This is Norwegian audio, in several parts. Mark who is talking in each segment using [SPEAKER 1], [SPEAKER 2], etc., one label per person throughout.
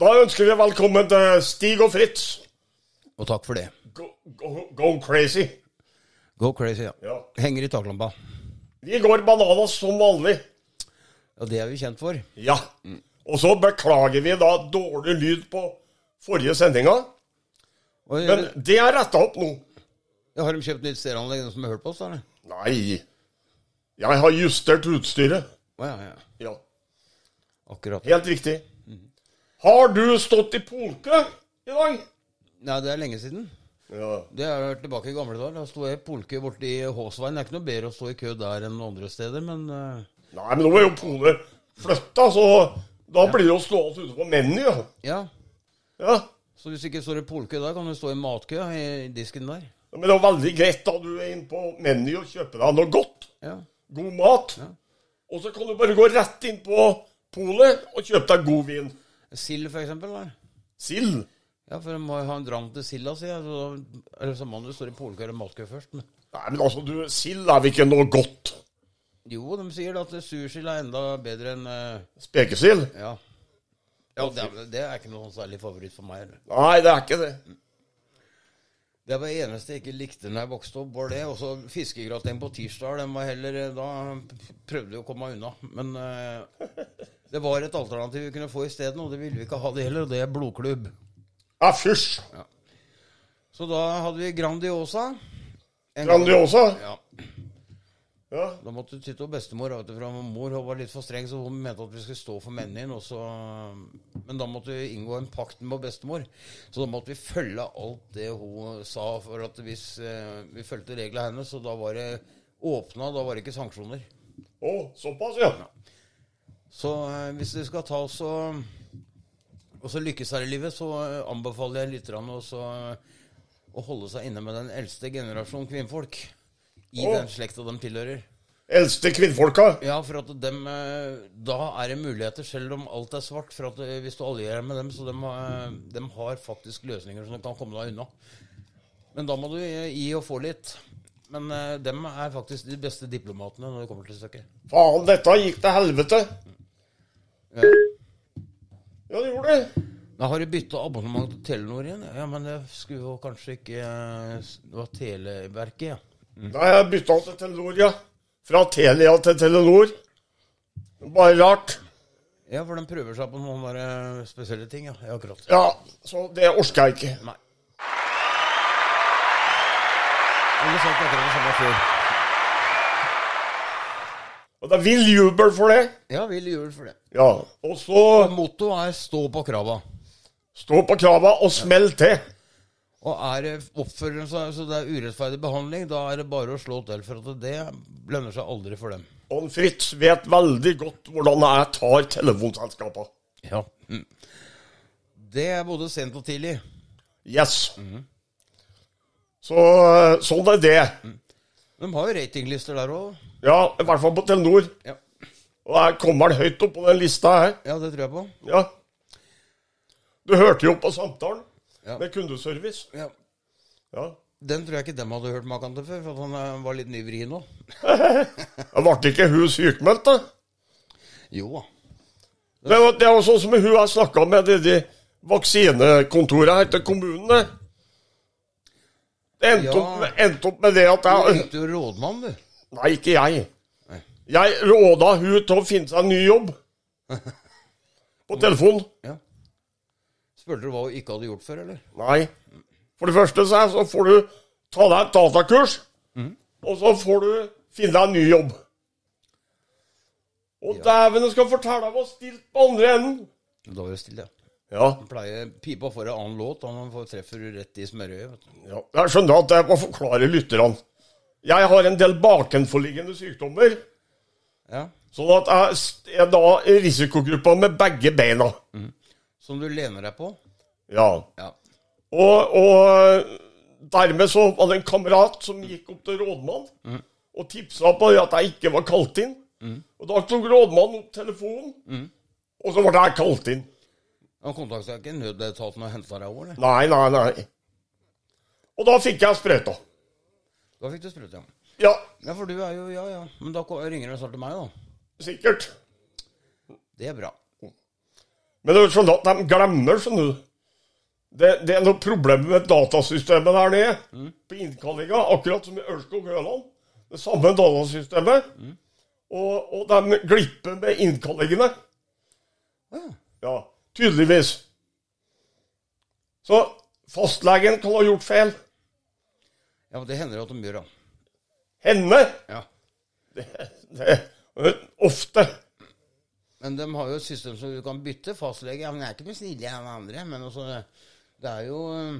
[SPEAKER 1] Da ønsker vi velkommen til Stig og Fritz.
[SPEAKER 2] Og takk for det.
[SPEAKER 1] Go, go, go crazy.
[SPEAKER 2] Go crazy, ja.
[SPEAKER 1] Ja.
[SPEAKER 2] Henger i taklampa.
[SPEAKER 1] Vi går bananas som vanlig.
[SPEAKER 2] Ja, det er vi kjent for.
[SPEAKER 1] Ja. Og så beklager vi da dårlig lyd på forrige sendinga,
[SPEAKER 2] Og,
[SPEAKER 1] men det er retta opp nå.
[SPEAKER 2] ja, har de kjøpt nytt stereoanlegg, de som har hørt på oss? Eller?
[SPEAKER 1] Nei. Jeg har justert utstyret.
[SPEAKER 2] Å ja, ja.
[SPEAKER 1] Ja.
[SPEAKER 2] Akkurat.
[SPEAKER 1] Helt riktig. Har du stått i polke i dag?
[SPEAKER 2] Nei, det er lenge siden.
[SPEAKER 1] Ja.
[SPEAKER 2] Det er tilbake i gamle dager. Da sto jeg i polke borti Håsveien. Det er ikke noe bedre å stå i kø der enn andre steder, men eh,
[SPEAKER 1] Nei, men nå er jo Pole flytta, så da blir det jo stående ute på Meny, ja.
[SPEAKER 2] ja.
[SPEAKER 1] ja.
[SPEAKER 2] Så hvis du ikke står i polke der, kan du stå i matkø i disken der.
[SPEAKER 1] Men det er jo veldig greit da du er inne på Meny og kjøper deg noe godt,
[SPEAKER 2] Ja.
[SPEAKER 1] god mat. Og så kan du bare gå rett inn på polet og kjøpe deg god vin.
[SPEAKER 2] Sild, for eksempel. Der.
[SPEAKER 1] Sild.
[SPEAKER 2] Ja, for de må jo ha en dram til silda, sier jeg. Så da, eller så må du stå i polke eller matkø først. Men.
[SPEAKER 1] Nei, men altså, du, sild er vel ikke noe godt?
[SPEAKER 2] Jo, de sier da at sursild er enda bedre enn eh,
[SPEAKER 1] Spekesild?
[SPEAKER 2] Ja. ja det, er, det er ikke noen særlig favoritt for meg. eller.
[SPEAKER 1] Nei, det er ikke det.
[SPEAKER 2] Det var det eneste jeg ikke likte når jeg vokste opp, var det. Og så fiskegrateng på tirsdag, den var heller eh, Da prøvde vi å komme meg unna. Men eh, det var et alternativ vi kunne få isteden, og det ville vi ikke ha det heller, og det er blodklubb.
[SPEAKER 1] Ja, fysj.
[SPEAKER 2] Så da hadde vi Grandiosa. En gang-
[SPEAKER 1] Grandiosa.
[SPEAKER 2] Ja.
[SPEAKER 1] Ja.
[SPEAKER 2] Da måtte du ty til bestemor. Vet du, for hun- mor hun var litt for streng, så hun mente at vi skulle stå for mennene. Og så, men da måtte vi inngå en pakt med bestemor. Så da måtte vi følge alt det hun sa. For at hvis eh, vi fulgte reglene hennes, så da var det åpna, da var det ikke sanksjoner.
[SPEAKER 1] Å, såpass, ja.
[SPEAKER 2] Så eh, hvis du skal ta oss og, og så lykkes her i livet, så eh, anbefaler jeg lytterne også eh, å holde seg inne med den eldste generasjon kvinnfolk. I
[SPEAKER 1] Å.
[SPEAKER 2] den slekta de tilhører.
[SPEAKER 1] Eldste kvinnfolka.
[SPEAKER 2] Ja, for at dem, eh, da er det muligheter, selv om alt er svart. For at eh, hvis du allierer deg med dem, så dem, eh, dem har faktisk løsninger som du kan komme deg unna. Men da må du eh, gi og få litt. Men eh, dem er faktisk de beste diplomatene når det kommer til stykket.
[SPEAKER 1] Faen, dette gikk til helvete.
[SPEAKER 2] Ja.
[SPEAKER 1] Ja, det gjorde det.
[SPEAKER 2] Da har du bytta abonnement til Telenor igjen? Ja, men det skulle jo kanskje ikke eh, s- Det var Televerket, ja.
[SPEAKER 1] Da har jeg bytta til Telenor, ja. Fra Telia til Telenor. Bare rart.
[SPEAKER 2] Ja, for de prøver seg på noen der, eh, spesielle ting, ja. ja akkurat.
[SPEAKER 1] Ja, så det orka jeg ikke.
[SPEAKER 2] Nei. Eller sagt akkurat det samme før.
[SPEAKER 1] Og det er vill jubel for det.
[SPEAKER 2] Ja, vill jul for det.
[SPEAKER 1] Ja. Og så
[SPEAKER 2] Mottoet er 'stå på krava'.
[SPEAKER 1] stå på krava og smell til.
[SPEAKER 2] Og er det oppfører de seg så det er urettferdig behandling, da er det bare å slå til. For at det lønner seg aldri for dem.
[SPEAKER 1] Og en Fritz vet veldig godt hvordan jeg tar telefonselskapa.
[SPEAKER 2] Ja. Mm. Det er både sent og tidlig.
[SPEAKER 1] Yes. Så eh, sånn er det.
[SPEAKER 2] De har jo ratinglister der òg.
[SPEAKER 1] Ja, i hvert fall på Telenor.
[SPEAKER 2] Ja.
[SPEAKER 1] Og jeg kommer vel høyt opp på den lista her.
[SPEAKER 2] ja, det tror jeg på.
[SPEAKER 1] Ja. Du hørte jo på samtalen
[SPEAKER 2] Ja.
[SPEAKER 1] med kundeservice.
[SPEAKER 2] Ja.
[SPEAKER 1] Ja.
[SPEAKER 2] Den tror jeg ikke dem hadde hørt maken til før, for at han eh, var litt nyvri nå.
[SPEAKER 1] Jeg ble ikke hun sykmeldt, da?
[SPEAKER 2] Jo da.
[SPEAKER 1] Det var, det var sånn som hun jeg snakka med i de vaksinekontorene her til kommunene. Det endte,
[SPEAKER 2] Ja.
[SPEAKER 1] opp, med- endte opp med det at
[SPEAKER 2] Du
[SPEAKER 1] jeg
[SPEAKER 2] ringte jo rådmann, du.
[SPEAKER 1] Nei, ikke jeg.
[SPEAKER 2] Nei.
[SPEAKER 1] Jeg råda hun til å finne seg en ny jobb. På telefon.
[SPEAKER 2] Ja. Spurte du hva hun ikke hadde gjort før, eller?
[SPEAKER 1] Nei. For det første så, er- så får du ta deg et datakurs,
[SPEAKER 2] Mm.
[SPEAKER 1] og så får du finne deg en ny jobb. Og dæven, jeg skal fortelle deg hva stilt på andre enden.
[SPEAKER 2] Da var det stille.
[SPEAKER 1] Ja.
[SPEAKER 2] Han pleier pipa for en annen låt, og han får- treffer rett i smørøyet. vet du.
[SPEAKER 1] Ja, jeg skjønner at jeg må forklare lytterne. Jeg har en del bakenforliggende sykdommer,
[SPEAKER 2] Ja.
[SPEAKER 1] sånn at jeg s- er da i risikogruppa med begge beina.
[SPEAKER 2] Som du lener deg på.
[SPEAKER 1] Ja.
[SPEAKER 2] Ja.
[SPEAKER 1] Og, og dermed så var det en kamerat som gikk opp til rådmannen og tipsa på at jeg ikke var kalt inn. Og da tok rådmannen opp telefonen, og så ble jeg kalt inn.
[SPEAKER 2] Han kontakta ikke nødetaten og henta deg over, eller?
[SPEAKER 1] Nei, nei, nei. Og da fikk jeg sprøyta.
[SPEAKER 2] Da fikk du sprøyte, ja.
[SPEAKER 1] Ja,
[SPEAKER 2] Ja, for du er jo Ja, ja. Men da ko- ringer du snart til meg, da.
[SPEAKER 1] sikkert.
[SPEAKER 2] Det er bra.
[SPEAKER 1] Men det er jo sånn at de glemmer, skjønner du. Det, det er noe problem med datasystemet der nede, på innkallinga, akkurat som i Ørskog Høland. Det samme datasystemet. Og, og de glipper med innkallingene. Ja, tydeligvis. Så fastlegen kan ha gjort feil.
[SPEAKER 2] Ja, men det hender jo at de gjør det.
[SPEAKER 1] Henne!
[SPEAKER 2] Ja.
[SPEAKER 1] Det er ofte.
[SPEAKER 2] Men de har jo et system som du kan bytte fastlege. Ja, men jeg er ikke med snille enn andre. Men også, det er jo eh,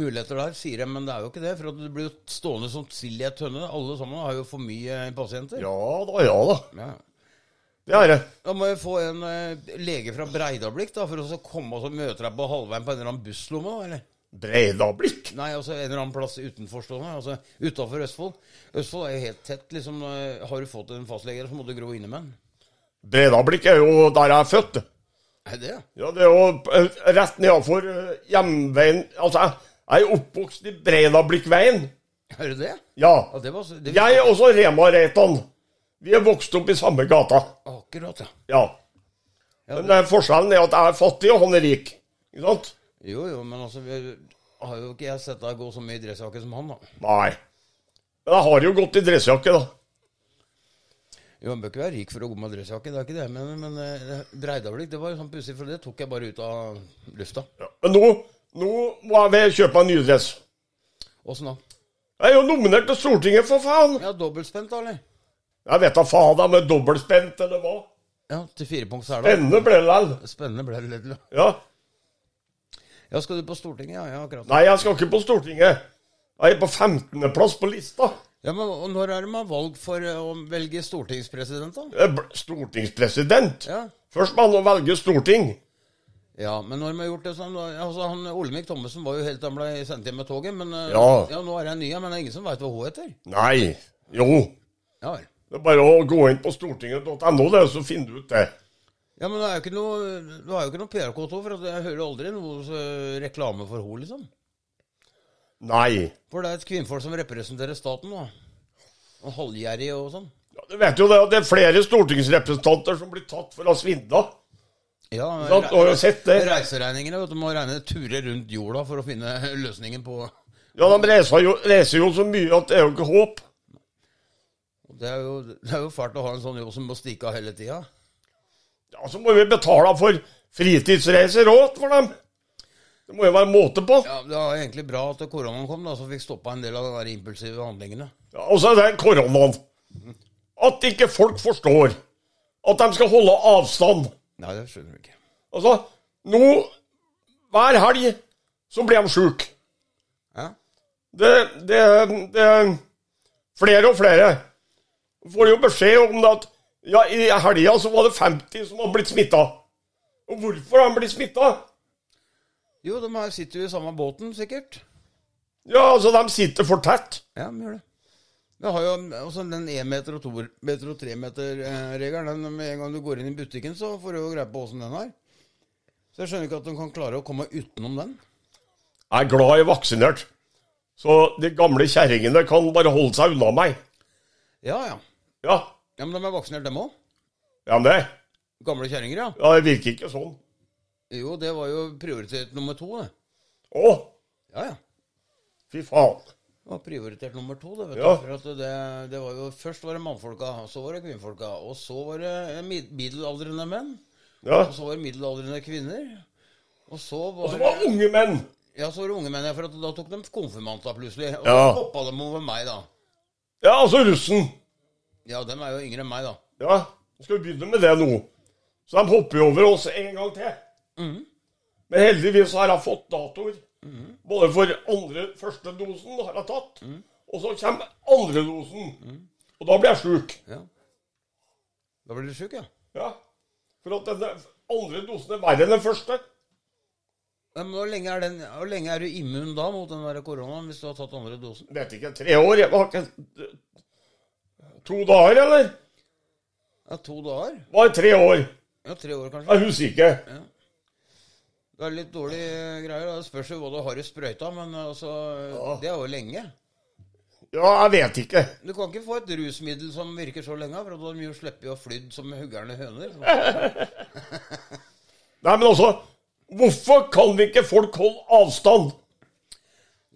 [SPEAKER 2] muligheter der, sier de, men det er jo ikke det. For at du blir jo stående som sild i ei tønne. Alle sammen har jo for mye eh, pasienter.
[SPEAKER 1] Ja da, ja da.
[SPEAKER 2] Ja.
[SPEAKER 1] Det er det.
[SPEAKER 2] Da må jeg få en eh, lege fra Breidablikk da, for å så komme og så møte deg på halvveien på en eller annen busslomme. da, eller?
[SPEAKER 1] Breidablikk.
[SPEAKER 2] Nei, altså en eller annen plass utenforstående. Altså utafor Østfold. Østfold er jo helt tett, liksom. eh, Har du fått en fastlege, så må du gro inne med den.
[SPEAKER 1] Breidablikk er jo der jeg er født.
[SPEAKER 2] Er det?
[SPEAKER 1] Ja, det er jo eh, rett nedenfor eh, hjemveien Altså, jeg jeg er oppvokst i Breidablikkveien.
[SPEAKER 2] Er det det?
[SPEAKER 1] Ja.
[SPEAKER 2] Ja, det var, så- det
[SPEAKER 1] Jeg og så Rema Reitan. Vi er vokst opp i samme gata.
[SPEAKER 2] Akkurat, ja.
[SPEAKER 1] Ja.
[SPEAKER 2] Ja,
[SPEAKER 1] Men eh, forskjellen er at jeg er fattig, og han er rik. Ikke sant?
[SPEAKER 2] Jo, jo, men altså vi har jo ikke jeg sett deg gå så mye i dressjakke som han, da.
[SPEAKER 1] Nei. Men jeg har jo gått i dressjakke, da.
[SPEAKER 2] Jo, Han bør ikke være rik for å gå med dressjakke, det er ikke det. Men, men eh, Breidablikk, det var jo sånn pussig, for det tok jeg bare ut av lufta.
[SPEAKER 1] Ja. Men nå, nå må jeg vel kjøpe meg en ny dress.
[SPEAKER 2] Åssen da?
[SPEAKER 1] Jeg er jo nominert til Stortinget, for faen!
[SPEAKER 2] Ja, dobbeltspent, da, eller?
[SPEAKER 1] Jeg vet da faen om jeg er dobbeltspent eller hva.
[SPEAKER 2] Ja, til fire punkt her, da.
[SPEAKER 1] Ende ble det likevel.
[SPEAKER 2] Spennende ble det litt. da.
[SPEAKER 1] Ja.
[SPEAKER 2] Ja, skal du på Stortinget? Ja, ja, akkurat.
[SPEAKER 1] Nei, jeg skal ikke på Stortinget. Jeg er på 15.-plass på lista.
[SPEAKER 2] Ja, men og Når er det man har valg for eh, å velge stortingspresident, da?
[SPEAKER 1] Jeg ble Stortingspresident.
[SPEAKER 2] Ja,
[SPEAKER 1] Først må han velge storting.
[SPEAKER 2] ja men når de har gjort det sånn da- altså, han, Olemic Thommessen var jo helt til han ble sendt hjem med toget. Men eh,
[SPEAKER 1] Ja.
[SPEAKER 2] ja, nå er jeg ny, ja, men det er ingen som veit hva hun heter.
[SPEAKER 1] Nei. Jo.
[SPEAKER 2] Ja vel.
[SPEAKER 1] Det er bare å gå inn på stortinget.no, det, så finner du ut det.
[SPEAKER 2] Ja, men det er jo ikke noe, det er jo ikke noe PR-kontor, for at jeg hører aldri noe eh, reklame for henne, liksom.
[SPEAKER 1] Nei.
[SPEAKER 2] For det er et kvinnfolk som representerer staten, da. Og halvgjerrig og sånn.
[SPEAKER 1] Ja, du vet jo det, at det er flere stortingsrepresentanter som blir tatt for å ha svindla.
[SPEAKER 2] Ja,
[SPEAKER 1] Du har jo sett det.
[SPEAKER 2] re- reiseregningene, vet du, må regne turer rundt jorda for å finne løsningen på og
[SPEAKER 1] Ja, de reiser jo, reiser jo så mye at det er jo ikke håp.
[SPEAKER 2] det er, jo, det er jo fælt å ha en sånn jobb som må stikke av hele tida.
[SPEAKER 1] Ja, så må vi betale for fritidsreiser òg for dem. Det må jo være måte på.
[SPEAKER 2] Ja, det var egentlig bra at koronaen kom, da, så fikk stoppa en del av de der impulsive handlingene.
[SPEAKER 1] Ja, og så er det koronaen. At ikke folk forstår at de skal holde avstand.
[SPEAKER 2] Nei, det skjønner du ikke.
[SPEAKER 1] Altså, nå Hver helg så blir de sjuke.
[SPEAKER 2] Ja?
[SPEAKER 1] Det, det, det Flere og flere får jo beskjed om det at ja, i helga så var det 50 som har blitt smitta. Og hvorfor har de blitt smitta?
[SPEAKER 2] Jo, de her sitter jo i samme båten, sikkert.
[SPEAKER 1] Ja, altså, de sitter for tett.
[SPEAKER 2] Ja, vi gjør det. Vi har jo også den 1 meter og 2 meter og 3 meter-regelen. Den med en gang du går inn i butikken, så får du jo greie på åssen den er. Så jeg skjønner ikke at de kan klare å komme utenom den.
[SPEAKER 1] Jeg er glad jeg er vaksinert. Så de gamle kjerringene kan bare holde seg unna meg.
[SPEAKER 2] Ja, ja.
[SPEAKER 1] Ja,
[SPEAKER 2] Ja, Men de er vaksinert, dem òg?
[SPEAKER 1] ja men det,
[SPEAKER 2] Gamle kjerringer, ja.
[SPEAKER 1] ja, det virker ikke sånn.
[SPEAKER 2] Jo, det var jo prioritet nummer to, det.
[SPEAKER 1] Å,
[SPEAKER 2] Ja, ja.
[SPEAKER 1] fy faen.
[SPEAKER 2] Det var prioritert nummer to, det, vet
[SPEAKER 1] Ja.
[SPEAKER 2] du. For at det, det var jo, først var det mannfolka, så var det kvinnfolka, og så var det eh, mid- middelaldrende menn.
[SPEAKER 1] Ja.
[SPEAKER 2] Og så var det middelaldrende kvinner. Og så
[SPEAKER 1] Og
[SPEAKER 2] var
[SPEAKER 1] så
[SPEAKER 2] det
[SPEAKER 1] var unge menn.
[SPEAKER 2] Ja, så var det unge menn, ja, for at da tok de konfirmanta plutselig. Og
[SPEAKER 1] Ja.
[SPEAKER 2] så hoppa de over meg, da.
[SPEAKER 1] Ja, altså russen.
[SPEAKER 2] Ja, dem er jo yngre enn meg, da.
[SPEAKER 1] Ja, nå skal vi begynne med det nå. Så de hopper jo over oss en gang til. Men heldigvis har jeg fått datoer. Både for andre, første dosen har jeg tatt, og så kommer andre dosen. Og da blir jeg sjuk.
[SPEAKER 2] Ja. Da blir du sjuk, ja.
[SPEAKER 1] Ja. For at denne andre dosen er verre enn den første.
[SPEAKER 2] Ja, Men hvor lenge, er den, hvor lenge er du immun da mot den der koronaen hvis du har tatt andre dosen?
[SPEAKER 1] Vet ikke, tre år? Jeg var ikke To dager, eller?
[SPEAKER 2] Ja, To dager?
[SPEAKER 1] Var tre år.
[SPEAKER 2] Ja, Tre år, kanskje?
[SPEAKER 1] Jeg husker ikke.
[SPEAKER 2] Det er litt dårlige greier. da. Det spørs jo hva du har i sprøyta, men altså Det er jo lenge.
[SPEAKER 1] Ja, jeg vet ikke.
[SPEAKER 2] Du kan ikke få et rusmiddel som virker så lenge, for da har de jo sluppet å flydd som huggerne høner.
[SPEAKER 1] Nei, men altså Hvorfor kan vi ikke folk holde avstand?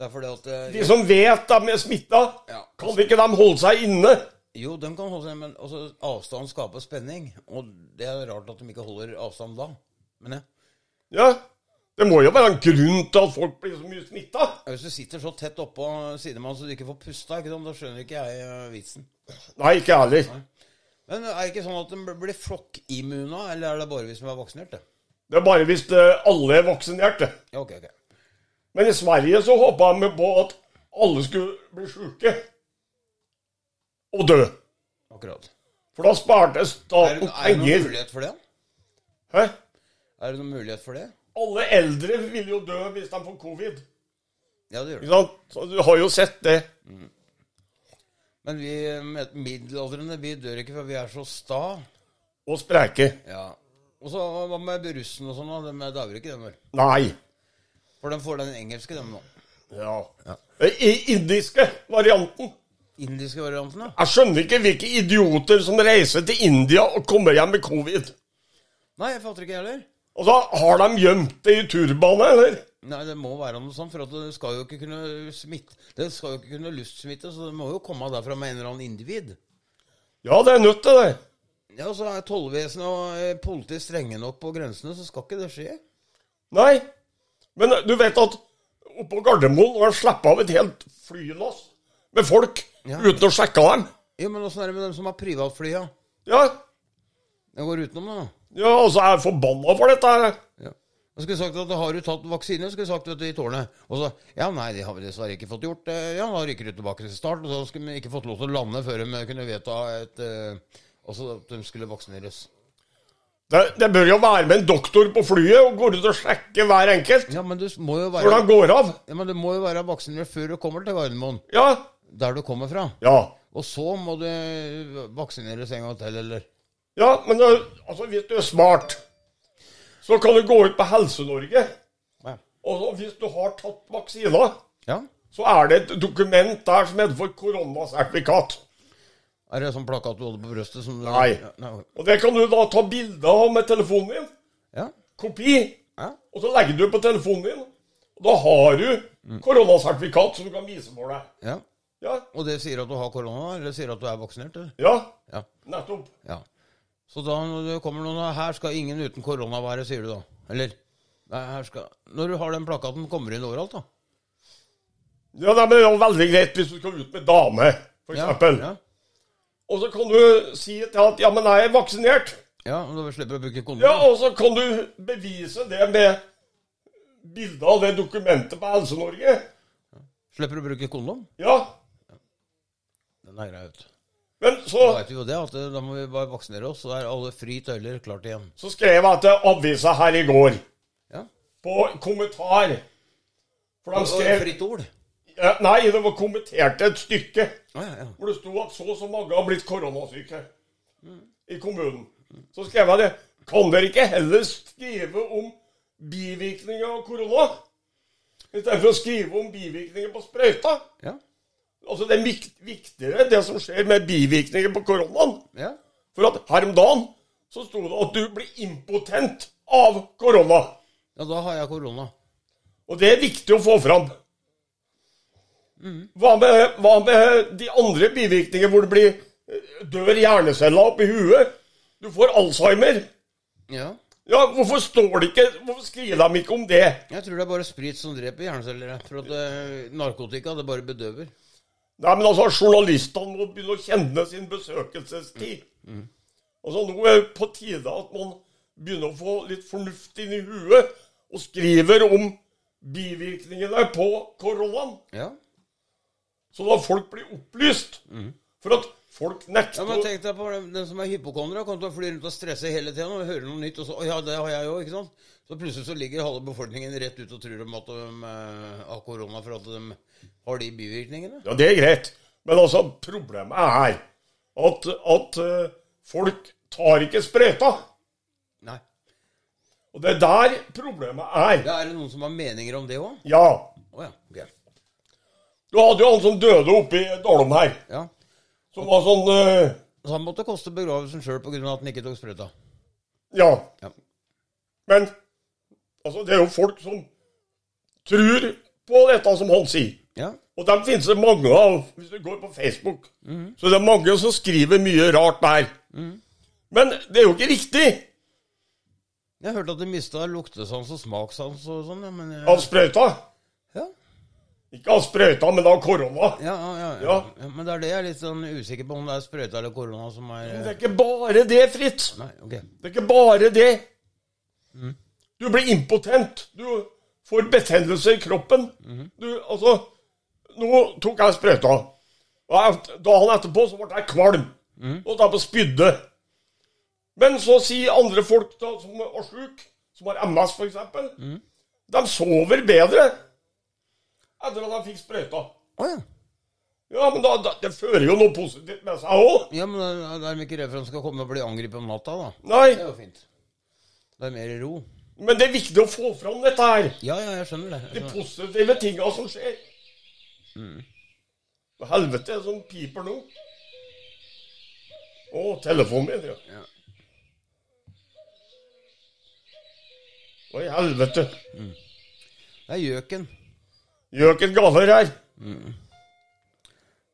[SPEAKER 2] Det er fordi at eh,
[SPEAKER 1] De som vet de er smitta,
[SPEAKER 2] Ja.
[SPEAKER 1] kan ikke de holde seg inne?
[SPEAKER 2] Jo, de kan holde seg, men altså, avstand skaper spenning. Og det er rart at de ikke holder avstand da. Men eh, ja.
[SPEAKER 1] Ja. Det må jo være en grunn til at folk blir så mye smitta.
[SPEAKER 2] Hvis du sitter så tett oppå sidemannen så du ikke får pusta, ikke sant, da skjønner ikke jeg eh, vitsen.
[SPEAKER 1] Nei, ikke jeg heller.
[SPEAKER 2] Men er det ikke sånn at de blir flokkimmuna, eller er det bare vi som er vaksinert? det?
[SPEAKER 1] Det er bare hvis eh, alle er vaksinerte.
[SPEAKER 2] Ja, ok, ok.
[SPEAKER 1] Men i Sverige så håpa de på at alle skulle bli sjuke og dø.
[SPEAKER 2] Akkurat.
[SPEAKER 1] For da sparte
[SPEAKER 2] Er,
[SPEAKER 1] staten
[SPEAKER 2] er det noen
[SPEAKER 1] penger.
[SPEAKER 2] mulighet for det?
[SPEAKER 1] Hæ?
[SPEAKER 2] Er det noen mulighet for det?
[SPEAKER 1] Alle eldre vil jo dø hvis de får covid.
[SPEAKER 2] Ja, det gjør det.
[SPEAKER 1] Ikke sant? Så du har jo sett det.
[SPEAKER 2] Men vi med- middelaldrende, vi dør ikke før vi er så sta.
[SPEAKER 1] Og spreike.
[SPEAKER 2] Ja. Og så hva med russen og sånn, da? De dauer ikke, dem vel?
[SPEAKER 1] Nei.
[SPEAKER 2] For de får den engelske, dem nå.
[SPEAKER 1] Ja. I indiske varianten.
[SPEAKER 2] Indiske varianten, ja.
[SPEAKER 1] Jeg skjønner ikke hvilke idioter som reiser til India og kommer hjem med covid.
[SPEAKER 2] Nei, jeg fatter ikke, jeg heller.
[SPEAKER 1] Og så har de gjemt det i turbanet, eller?
[SPEAKER 2] Nei, det må være noe sånt, for at det skal jo ikke kunne smitte. Det skal jo ikke kunne luftsmitte, så det må jo komme derfra med en eller annen individ.
[SPEAKER 1] Ja, det er nødt til det.
[SPEAKER 2] Ja, og så er tollvesenet og eh, politiet strenge nok på grensene, så skal ikke det skje.
[SPEAKER 1] Nei. Men eh, du vet at oppå Gardermoen har de sluppet av et helt flylass med folk
[SPEAKER 2] Ja.
[SPEAKER 1] uten å sjekke dem.
[SPEAKER 2] Jo, men åssen er det med dem som har privatfly, ja?
[SPEAKER 1] Ja,
[SPEAKER 2] Jeg går utenom det, da.
[SPEAKER 1] ja altså, jeg er forbanna for dette. her.
[SPEAKER 2] Ja. Jeg skulle sagt at har du tatt vaksine, skulle jeg sagt vet du, i tårnet. Og så ja, nei, det har vi dessverre ikke fått gjort. Eh, Ja, da rykker du tilbake til start, og så skulle vi ikke fått lov til å lande før de kunne vedta et eh, Altså at de skulle vaksineres.
[SPEAKER 1] Det, det bør jo være med en doktor på flyet og gå ut og sjekke hver enkelt
[SPEAKER 2] Ja, men du må jo
[SPEAKER 1] når
[SPEAKER 2] være
[SPEAKER 1] de går av.
[SPEAKER 2] Ja, men du må jo være vaksinert før du kommer til Gardermoen,
[SPEAKER 1] Ja.
[SPEAKER 2] der du kommer fra.
[SPEAKER 1] Ja.
[SPEAKER 2] Og så må du eh, vaksineres en gang til, eller
[SPEAKER 1] Ja, men eh, altså, hvis du er smart, så kan du gå ut på Helse-Norge.
[SPEAKER 2] Ja.
[SPEAKER 1] Og så hvis du har tatt vaksina,
[SPEAKER 2] ja.
[SPEAKER 1] så er det et dokument der som heter for koronasertifikat.
[SPEAKER 2] Er det sånn plakat du holder på brøstet som du
[SPEAKER 1] Nei.
[SPEAKER 2] Ja, nei.
[SPEAKER 1] Og det kan du da ta bilde av med telefonen din.
[SPEAKER 2] Ja.
[SPEAKER 1] Kopi.
[SPEAKER 2] ja.
[SPEAKER 1] Og så legger du på telefonen din. Og da har du koronasertifikat som du kan vise for deg.
[SPEAKER 2] ja.
[SPEAKER 1] Ja,
[SPEAKER 2] Og det sier at du har korona, eller sier at du er vaksinert, eller?
[SPEAKER 1] ja,
[SPEAKER 2] Ja.
[SPEAKER 1] nettopp.
[SPEAKER 2] ja. Så da når det kommer noen og Her skal ingen uten korona være, sier du da? Eller? Nei, her skal Når du har den plakaten, kommer du inn overalt, da?
[SPEAKER 1] Ja, nei, men Det er jo veldig greit hvis du skal ut med dame, for
[SPEAKER 2] Ja,
[SPEAKER 1] eksempel.
[SPEAKER 2] ja.
[SPEAKER 1] Og så kan du si til at 'ja, men jeg er vaksinert'.
[SPEAKER 2] ja, og da slipper du å bruke kondom.
[SPEAKER 1] Ja, Og så kan du bevise det med bilde av det dokumentet på Helse-Norge.
[SPEAKER 2] Slipper du å bruke kondom?
[SPEAKER 1] Ja,
[SPEAKER 2] Den er grei, vet du.
[SPEAKER 1] Men så,
[SPEAKER 2] Da vet vi jo det, at eh, da må vi bare vaksinere oss, så er alle fri tøyler klart igjen.
[SPEAKER 1] så skrev jeg til avisa her i går,
[SPEAKER 2] Ja.
[SPEAKER 1] på kommentar For de
[SPEAKER 2] Og
[SPEAKER 1] skrev
[SPEAKER 2] fritt ord.
[SPEAKER 1] Ja, Nei, det var kommentert et stykke
[SPEAKER 2] Å, ja, ja.
[SPEAKER 1] hvor det sto at så og så mange har blitt koronasyke i kommunen. Så skrev jeg det. Kan dere ikke heller skrive om bivirkninger av korona? Istedenfor å skrive om bivirkninger på sprøyta?
[SPEAKER 2] Ja.
[SPEAKER 1] Altså, Det er vik- viktigere det som skjer med bivirkninger på koronaen.
[SPEAKER 2] ja.
[SPEAKER 1] For at her om dagen så sto det at du blir impotent av korona.
[SPEAKER 2] Ja, da har jeg korona.
[SPEAKER 1] Og det er viktig å få fram. Hva, med, hva med de andre bivirkninger hvor det blir eh, dør hjerneceller oppi huet? Du får Alzheimer.
[SPEAKER 2] Ja.
[SPEAKER 1] Ja, Hvorfor står det ikke, hvorfor skriver de ikke om det?
[SPEAKER 2] Jeg tror det er bare sprit som dreper hjerneceller. jeg. For at eh, narkotika, det bare bedøver.
[SPEAKER 1] Nei, men altså, Journalistene må begynne å kjenne sin besøkelsestid. Altså, Nå er det på tide at man begynner å få litt fornuft inn i huet og skriver om bivirkningene på koronaen.
[SPEAKER 2] Ja.
[SPEAKER 1] Så da folk blir opplyst. For at folk
[SPEAKER 2] ja
[SPEAKER 1] nekter
[SPEAKER 2] men
[SPEAKER 1] å
[SPEAKER 2] tenk deg på den, den som er hypokondra, kan til å fly rundt og stresse hele tiden og høre noe nytt, og så Å ja, det har jeg jo, ikke sant? Så plutselig så ligger halve befolkningen rett ut og tror de at de eh, har korona for at de har de bivirkningene.
[SPEAKER 1] Ja, det er greit. Men altså, problemet er at, at eh, folk tar ikke sprøyta.
[SPEAKER 2] Nei.
[SPEAKER 1] Og det er der problemet er.
[SPEAKER 2] Ja, er det noen som har meninger om det òg?
[SPEAKER 1] Ja.
[SPEAKER 2] Å ja. ok.
[SPEAKER 1] Du hadde jo han som døde oppe i Dalom her.
[SPEAKER 2] ja.
[SPEAKER 1] Som var sånn eh,
[SPEAKER 2] Så han måtte koste begravelsen sjøl pga. at han ikke tok sprøyta.
[SPEAKER 1] ja.
[SPEAKER 2] Ja.
[SPEAKER 1] Men altså, det er jo folk som tror på dette som han sier.
[SPEAKER 2] Ja.
[SPEAKER 1] Og dem finnes det mange av, hvis du går på Facebook. Så det er mange som skriver mye rart der. Men det er jo ikke riktig
[SPEAKER 2] Jeg hørte at de mista luktesans og smakssans og sånn, ja, men jeg-
[SPEAKER 1] av sprøyta.
[SPEAKER 2] ja.
[SPEAKER 1] Ikke av sprøyta, men av korona.
[SPEAKER 2] Ja, ja, ja, ja.
[SPEAKER 1] Ja.
[SPEAKER 2] ja. Men det er det jeg er litt sånn usikker på, om det er sprøyta eller korona som er
[SPEAKER 1] Men
[SPEAKER 2] eh,
[SPEAKER 1] det er ikke bare det, Fritz.
[SPEAKER 2] Nei, ok.
[SPEAKER 1] Det er ikke bare det. Du blir impotent. Du får betennelse i kroppen. Du, altså Nå tok jeg sprøyta. Og jeg- Dagen etterpå så ble jeg kvalm. Og da på spydde. Men så sier andre folk da, som er syke, som har MS f.eks., eksempel, de sover bedre etter at de fikk sprøyta.
[SPEAKER 2] Å ja.
[SPEAKER 1] Ja, men da, da, det fører jo noe positivt med seg òg.
[SPEAKER 2] Ja, men da da er de ikke redd for at de skal komme og bli angrepet om natta, da.
[SPEAKER 1] Nei,
[SPEAKER 2] Det er jo fint. Det er mer ro.
[SPEAKER 1] men det er viktig å få fram dette her.
[SPEAKER 2] Ja, ja, jeg skjønner det. Jeg
[SPEAKER 1] de
[SPEAKER 2] skjønner. det.
[SPEAKER 1] positive tinga som skjer. Hva helvete er det som piper nå? Å, telefonen min, ja.
[SPEAKER 2] Ja.
[SPEAKER 1] Hva i helvete?
[SPEAKER 2] Det er gjøken.
[SPEAKER 1] Gjøken galler her.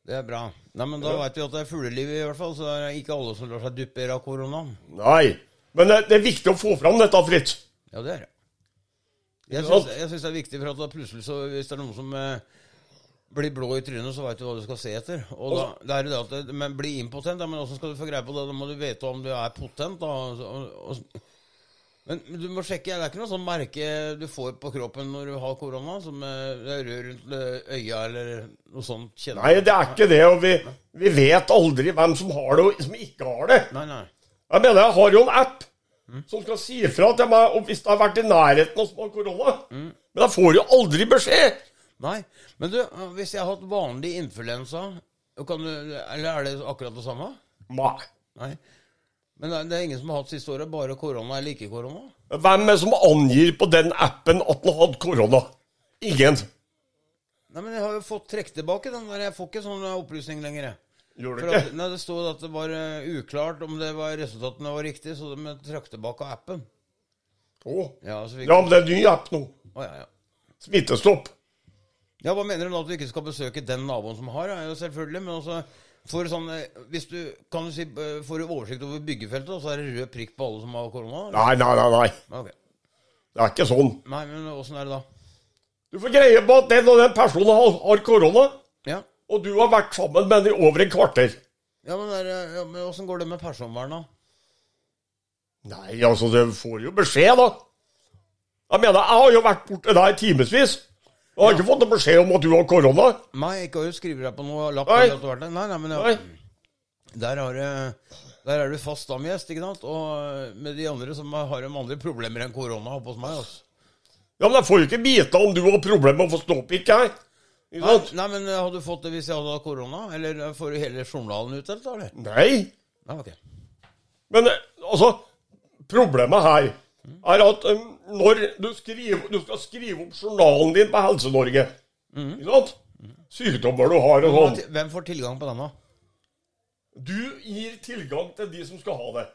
[SPEAKER 2] Det er bra. Nei, men Da
[SPEAKER 1] Ja.
[SPEAKER 2] veit vi at det er fugleliv, i hvert fall. Så det er ikke alle som lar seg duppere av koronaen.
[SPEAKER 1] Nei. Men det, det er viktig å få fram dette, Fritz.
[SPEAKER 2] Ja, det er det. Jeg
[SPEAKER 1] sant?
[SPEAKER 2] syns, jeg syns det er viktig, for at da plutselig så Hvis det er noen som eh, blir blå i trynet, så veit du hva du skal se etter. Og da, det er jo det at det, Men bli impotent, ja, men åssen skal du få greie på det? Da må du vite om du er potent, da. Og, og, men men du må sjekke, det er ikke noe sånn merke du får på kroppen når du har korona, som eh, det er rød rundt eh, øya eller noe sånt? kjenner
[SPEAKER 1] Nei, det er ikke det. Og vi, vi vet aldri hvem som har det, og som ikke har det.
[SPEAKER 2] Nei, nei.
[SPEAKER 1] Jeg mener, jeg har jo en app som skal si ifra til meg om hvis det har vært i nærheten av som har korona. Men jeg får jo aldri beskjed.
[SPEAKER 2] Nei, men du, eh, hvis jeg har hatt vanlig influensa, kan du, eller er det akkurat det samme?
[SPEAKER 1] Nei.
[SPEAKER 2] Nei. Men det er- det er ingen som har hatt siste året, bare korona eller ikke korona?
[SPEAKER 1] Hvem er det som angir på den appen at han hadde korona? Ingen.
[SPEAKER 2] Nei, men jeg har jo fått trekt tilbake den der, jeg får ikke sånn opplysning lenger. jeg.
[SPEAKER 1] Gjorde
[SPEAKER 2] For
[SPEAKER 1] det
[SPEAKER 2] at,
[SPEAKER 1] ikke?
[SPEAKER 2] nei, det stod at det var eh, uklart om det var resultatene var riktige, så de trakk tilbake appen.
[SPEAKER 1] Å.
[SPEAKER 2] Ja, så vi,
[SPEAKER 1] Ja, men det er en ny app nå.
[SPEAKER 2] Å, ja, ja.
[SPEAKER 1] Smittestopp.
[SPEAKER 2] Ja, hva mener du da at du ikke skal besøke den naboen som har? Ja, jo, selvfølgelig, men altså for sånn, eh, hvis du, kan du si, eh, får du oversikt over byggefeltet, og så er det rød prikk på alle som har korona? eller?
[SPEAKER 1] Nei, nei, nei. nei.
[SPEAKER 2] Ok.
[SPEAKER 1] Det er ikke sånn.
[SPEAKER 2] Nei, men åssen er det da?
[SPEAKER 1] Du får greie på at den og den personen har- har korona,
[SPEAKER 2] Ja,
[SPEAKER 1] og du har vært sammen med den i over et kvarter.
[SPEAKER 2] ja men, der, ja, men åssen går det med personvern, da?
[SPEAKER 1] Nei, altså, du får jo beskjed, da. Jeg mener, jeg har jo vært borte der i timevis. Jeg har ikke fått noen beskjed om at du har korona.
[SPEAKER 2] Nei, jeg ikke har jo skrevet deg på noe lapp.
[SPEAKER 1] Nei.
[SPEAKER 2] eller at du har vært der. Nei, nei, men
[SPEAKER 1] Nei.
[SPEAKER 2] ja, der, har, du- der er du fast stamgjest, ikke sant? Og eh, med de andre som har de andre problemer enn korona oppe hos meg. Altså.
[SPEAKER 1] Ja, men jeg får jo ikke vite om du har problemer med å få ståpikk her. Ikke
[SPEAKER 2] Nei,
[SPEAKER 1] sant?
[SPEAKER 2] nei, men eh, hadde du fått det hvis jeg hadde hatt korona? Eller eh, får du hele journalen utdelt, da? eller?
[SPEAKER 1] Nei.
[SPEAKER 2] Nei, ok.
[SPEAKER 1] Men eh, altså, problemet her er at eh, når du, skriver, du skal skrive opp journalen din på Helse-Norge Ikke sant? Sykdommer du har og sånn.
[SPEAKER 2] Hvem får tilgang på den, da?
[SPEAKER 1] Du gir tilgang til de som skal ha det.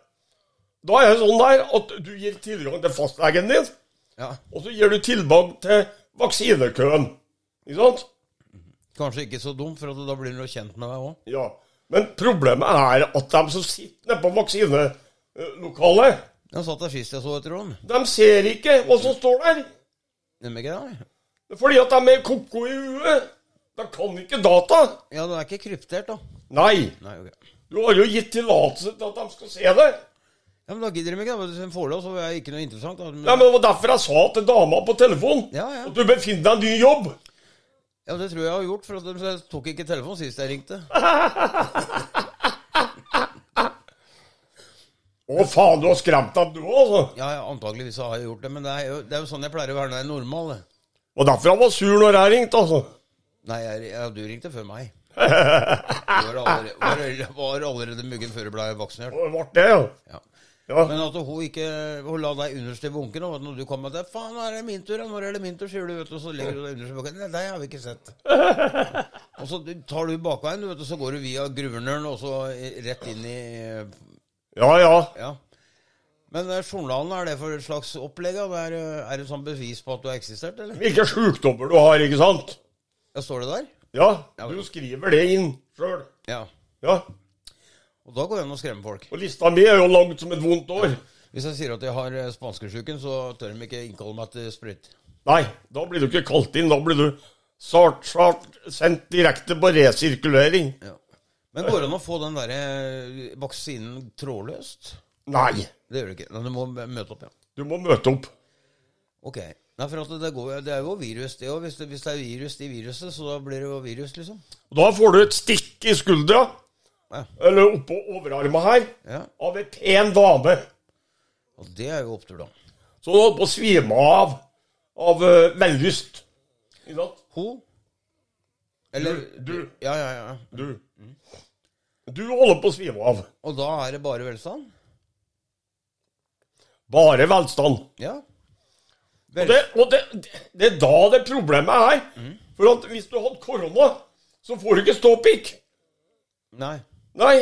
[SPEAKER 1] Da er det sånn der at du gir tilgang til fastlegen din,
[SPEAKER 2] Ja,
[SPEAKER 1] og så gir du tilgang til vaksinekøen. Ikke sant?
[SPEAKER 2] Kanskje ikke så dumt, for at da blir du jo kjent med deg òg.
[SPEAKER 1] Ja. Men problemet er at de som sitter nede på vaksinelokalet,
[SPEAKER 2] Jeg satt der sist jeg så et rom.
[SPEAKER 1] de ser ikke hva som står der.
[SPEAKER 2] Nemlig ikke det? nei.
[SPEAKER 1] Fordi at de er koko i huet. De kan ikke data.
[SPEAKER 2] Ja, det er ikke kryptert, da.
[SPEAKER 1] Nei.
[SPEAKER 2] Nei, ok.
[SPEAKER 1] Du har jo gitt tillatelse til at de skal se det.
[SPEAKER 2] Ja, men Da gidder de ikke. da. Hvis de får det, så er det ikke noe interessant. Da. Men,
[SPEAKER 1] Nei, men Det var derfor jeg sa til dama på telefonen
[SPEAKER 2] Ja, ja.
[SPEAKER 1] at du befinner deg i en ny jobb.
[SPEAKER 2] ja, Det tror jeg jeg har gjort, for at de tok ikke telefonen sist jeg ringte.
[SPEAKER 1] Å faen, du har skremt dem du òg, altså.
[SPEAKER 2] Ja, ja, Antakeligvis har jeg gjort det, men det er jo, det er jo sånn jeg pleier å være når jeg er normal. det.
[SPEAKER 1] Og derfor han var sur når jeg ringte, altså.
[SPEAKER 2] Nei, jeg, ja, du ringte før meg. Du var allerede, var, allerede- var allerede muggen før du ble vaksinert.
[SPEAKER 1] Og det ble det, ja.
[SPEAKER 2] Ja.
[SPEAKER 1] ja.
[SPEAKER 2] Men at hun ikke hun la deg underst i bunken, og at når du kom med det 'Faen, nå er det min tur, ja. Når er det min tur?' sier du, vet du, og så legger du deg underst i bunken. Nei, deg har vi ikke sett. Og så tar du bakveien, du vet, og så går du eh, via Gruvernøren og så rett inn i
[SPEAKER 1] Ja ja.
[SPEAKER 2] Ja. Men eh, journalen, er det for et slags opplegg? da? Det Er, eh, er det sånn bevis på at du har eksistert, eller?
[SPEAKER 1] Hvilke sjukdommer du har, ikke sant?
[SPEAKER 2] Ja, står det der?
[SPEAKER 1] Ja,
[SPEAKER 2] Ja.
[SPEAKER 1] du skriver det inn sjøl.
[SPEAKER 2] Ja.
[SPEAKER 1] Ja.
[SPEAKER 2] Og da går det an å skremme folk.
[SPEAKER 1] Og lista mi er jo langt som et vondt år.
[SPEAKER 2] Hvis jeg sier at jeg har eh, spanskesjuken, så tør de ikke innkalle meg til sprøyt.
[SPEAKER 1] Nei, da blir du ikke kalt inn. Da blir du sart, sart, sendt direkte på resirkulering.
[SPEAKER 2] Ja. Men går det an å få den derre eh, vaksinen trådløst?
[SPEAKER 1] Nei,
[SPEAKER 2] Det gjør det ikke. Men du må møte opp, ja.
[SPEAKER 1] du må møte opp.
[SPEAKER 2] Ok. Nei, for at det, går, jo- det er jo virus, det òg. Hvis, det- hvis det er virus i viruset, så da blir det jo virus, liksom.
[SPEAKER 1] Og da får du et stikk i skuldra,
[SPEAKER 2] Ja.
[SPEAKER 1] eller oppå overarma her,
[SPEAKER 2] ja.
[SPEAKER 1] av en pen dame.
[SPEAKER 2] Og det er jo opptur, da.
[SPEAKER 1] Så hun holdt på å svime av av eh, vellyst. Ikke sant?
[SPEAKER 2] Ho? Eller
[SPEAKER 1] Du- du.
[SPEAKER 2] Ja, ja, ja.
[SPEAKER 1] Du. Du holder på å svime av.
[SPEAKER 2] Og da er det bare velstand?
[SPEAKER 1] Bare velstand.
[SPEAKER 2] Ja.
[SPEAKER 1] Og det, og det, det er da det problemet er. For at hvis du hadde korona, så får du ikke ståpikk.
[SPEAKER 2] Nei.
[SPEAKER 1] Nei.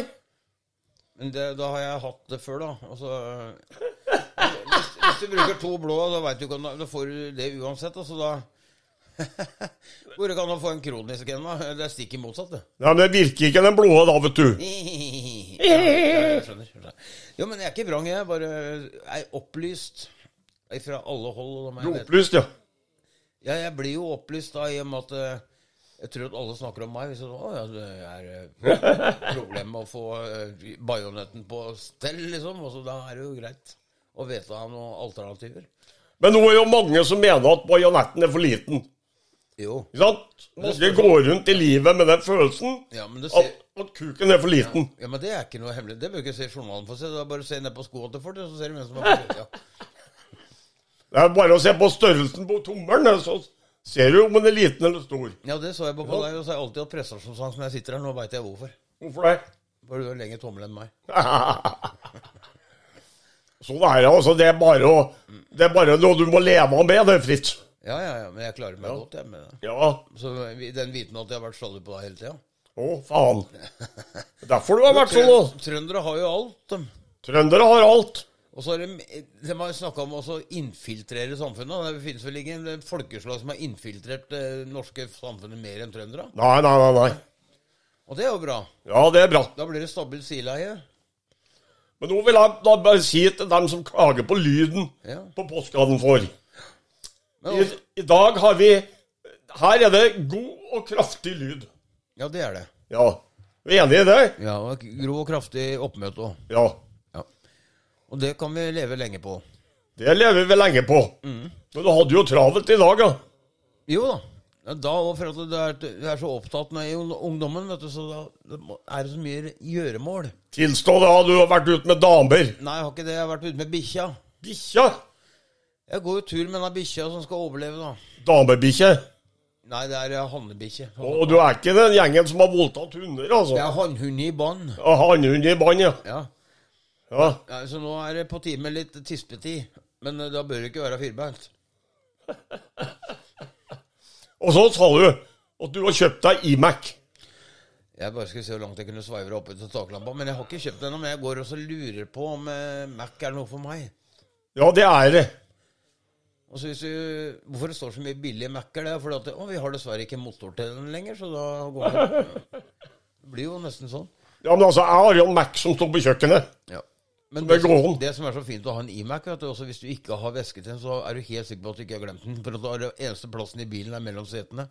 [SPEAKER 2] Men det, da har jeg hatt det før, da. Altså, hvis, hvis du bruker to blå, da, vet du, ikke om- da får du det uansett. Altså, da Hvor kan du få en kronisk en, da? Det er stikk imotsatt, det.
[SPEAKER 1] Nei, men det virker ikke den blå da, vet du.
[SPEAKER 2] Ja, ja, jeg skjønner. skjønner. Jo, men jeg er ikke vrang, jeg. Bare er opplyst fra alle hold. og da må
[SPEAKER 1] Du
[SPEAKER 2] jeg
[SPEAKER 1] er
[SPEAKER 2] vite-
[SPEAKER 1] opplyst, ja.
[SPEAKER 2] Ja, jeg blir jo opplyst da, i og med at eh, jeg tror at alle snakker om meg. Hvis jeg, å, ja, det er eh, problem med å få eh, bajonetten på stell, liksom. Og så da er det jo greit å vedta noen alternativer.
[SPEAKER 1] Men nå er jo mange som mener at bajonetten er for liten.
[SPEAKER 2] Jo.
[SPEAKER 1] Ikke sant? Mange går rundt i livet med den følelsen
[SPEAKER 2] Ja, men, det
[SPEAKER 1] at,
[SPEAKER 2] ser,
[SPEAKER 1] at kuken er for liten.
[SPEAKER 2] ja, men det er ikke noe hemmelig. Det bør ikke se i journalen for å se. Det er bare å se ned på skoene til folk, så ser du hvem som har ja.
[SPEAKER 1] Det er bare å se på størrelsen på tommelen, eh, så ser du om den er liten eller stor.
[SPEAKER 2] ja, det så jeg på, på deg. Og så har jeg alltid hatt prestasjonssans når jeg sitter her. Nå veit jeg hvorfor.
[SPEAKER 1] Hvorfor det?
[SPEAKER 2] Bare du har lenger tommel enn meg.
[SPEAKER 1] Sånn er det, altså. Det er bare, å, det er bare noe du må leve med, det, Fritz.
[SPEAKER 2] Ja, ja, ja, men jeg klarer meg godt, jeg. Med det.
[SPEAKER 1] Ja.
[SPEAKER 2] Så vi- den viten at jeg har vært sjalu på deg hele tida.
[SPEAKER 1] Å, faen. Det er Derfor du har vært sånn nå.
[SPEAKER 2] Trøndere har jo alt, dem.
[SPEAKER 1] Trøndere har alt.
[SPEAKER 2] Og så har de, de har snakka om også å infiltrere samfunnet. Det finnes vel ikke en folkeslag som har infiltrert det norske samfunnet mer enn trøndere.
[SPEAKER 1] Nei, nei, nei. nei.
[SPEAKER 2] Og det er jo bra.
[SPEAKER 1] Ja, det er bra.
[SPEAKER 2] Da blir det stabilt sileie.
[SPEAKER 1] Men nå vil jeg da bare si til dem som klager på lyden
[SPEAKER 2] Ja.
[SPEAKER 1] på postkassen for
[SPEAKER 2] Men,
[SPEAKER 1] I, I dag har vi Her er det god og kraftig lyd.
[SPEAKER 2] ja, det er det.
[SPEAKER 1] Ja. Vi er enig i det?
[SPEAKER 2] Ja, og Grov og kraftig oppmøte òg.
[SPEAKER 1] Ja.
[SPEAKER 2] Ja. Og det kan vi leve lenge på.
[SPEAKER 1] Det lever vi lenge på. Men du hadde jo travelt i dag, ja.
[SPEAKER 2] Jo da. Ja, Da òg, for at du er, du er så opptatt med ungdommen, vet du, så da det må- er det så mye gjøremål.
[SPEAKER 1] Tilstå det, du har vært ute med damer.
[SPEAKER 2] Nei, jeg har ikke det. Jeg har vært ute med bikkja.
[SPEAKER 1] Bikkja.
[SPEAKER 2] Jeg går jo tur med denne bikkja som skal overleve, da.
[SPEAKER 1] Damebikkje.
[SPEAKER 2] Nei, det er eh, hannebikkje.
[SPEAKER 1] Og du er ikke den gjengen som har voldtatt hunder, altså?
[SPEAKER 2] Det er hannhund i bånd.
[SPEAKER 1] Ja, Hannhund i bånd, ja.
[SPEAKER 2] Ja.
[SPEAKER 1] ja.
[SPEAKER 2] ja. Så nå er det på tide med litt tispetid. Men eh, da bør det ikke være firbeint.
[SPEAKER 1] Og så sa du at du har kjøpt deg Imac.
[SPEAKER 2] Jeg bare skulle se hvor langt jeg kunne sveive opp til taklampa. Men jeg har ikke kjøpt den ennå. Men jeg går og så lurer på om eh, Mac er noe for meg.
[SPEAKER 1] Ja, det er det.
[SPEAKER 2] Og så hvis du, Hvorfor det står så mye billige Mac-er, det er fordi at det- å, vi har dessverre ikke motor til den lenger. Så da går det Det blir jo nesten sånn.
[SPEAKER 1] Ja, men altså, jeg har jo en Mac som står på kjøkkenet.
[SPEAKER 2] Ja. Men
[SPEAKER 1] Det
[SPEAKER 2] det,
[SPEAKER 1] går an.
[SPEAKER 2] det som er så fint å ha en iMac, vet du, også hvis du ikke har væske til den, så er du helt sikker på at du ikke har glemt den. For da er det eneste plassen i bilen er mellom setene.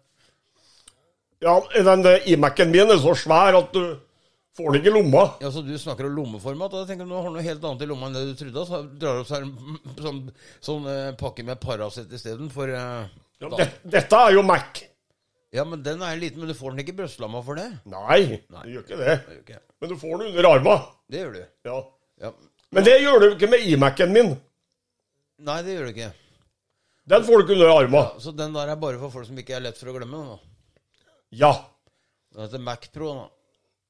[SPEAKER 1] Ja, den eh, Imacen min er så svær at du får den ikke i lomma.
[SPEAKER 2] Ja, så Du snakker om lommeformat. og Da tenker du, nå har du noe helt annet i lomma enn det du trodde. Så drar du opp sånn, sånn, sånn eh, pakke med Paracet istedenfor eh,
[SPEAKER 1] Ja,
[SPEAKER 2] da-
[SPEAKER 1] det, dette er jo Mac.
[SPEAKER 2] ja, men den er liten, men du får den ikke i brystlamma for det.
[SPEAKER 1] Nei, du gjør ikke det.
[SPEAKER 2] Det gjør, ikke jeg.
[SPEAKER 1] Men du får den under arma.
[SPEAKER 2] det gjør du.
[SPEAKER 1] Ja.
[SPEAKER 2] Ja.
[SPEAKER 1] Men det gjør du ikke med Imac-en min.
[SPEAKER 2] Nei, det gjør du ikke.
[SPEAKER 1] Den får du ikke under arma.
[SPEAKER 2] Så den der er bare for folk som ikke er lett for å glemme. Da.
[SPEAKER 1] Ja.
[SPEAKER 2] Den heter Mac Pro. da.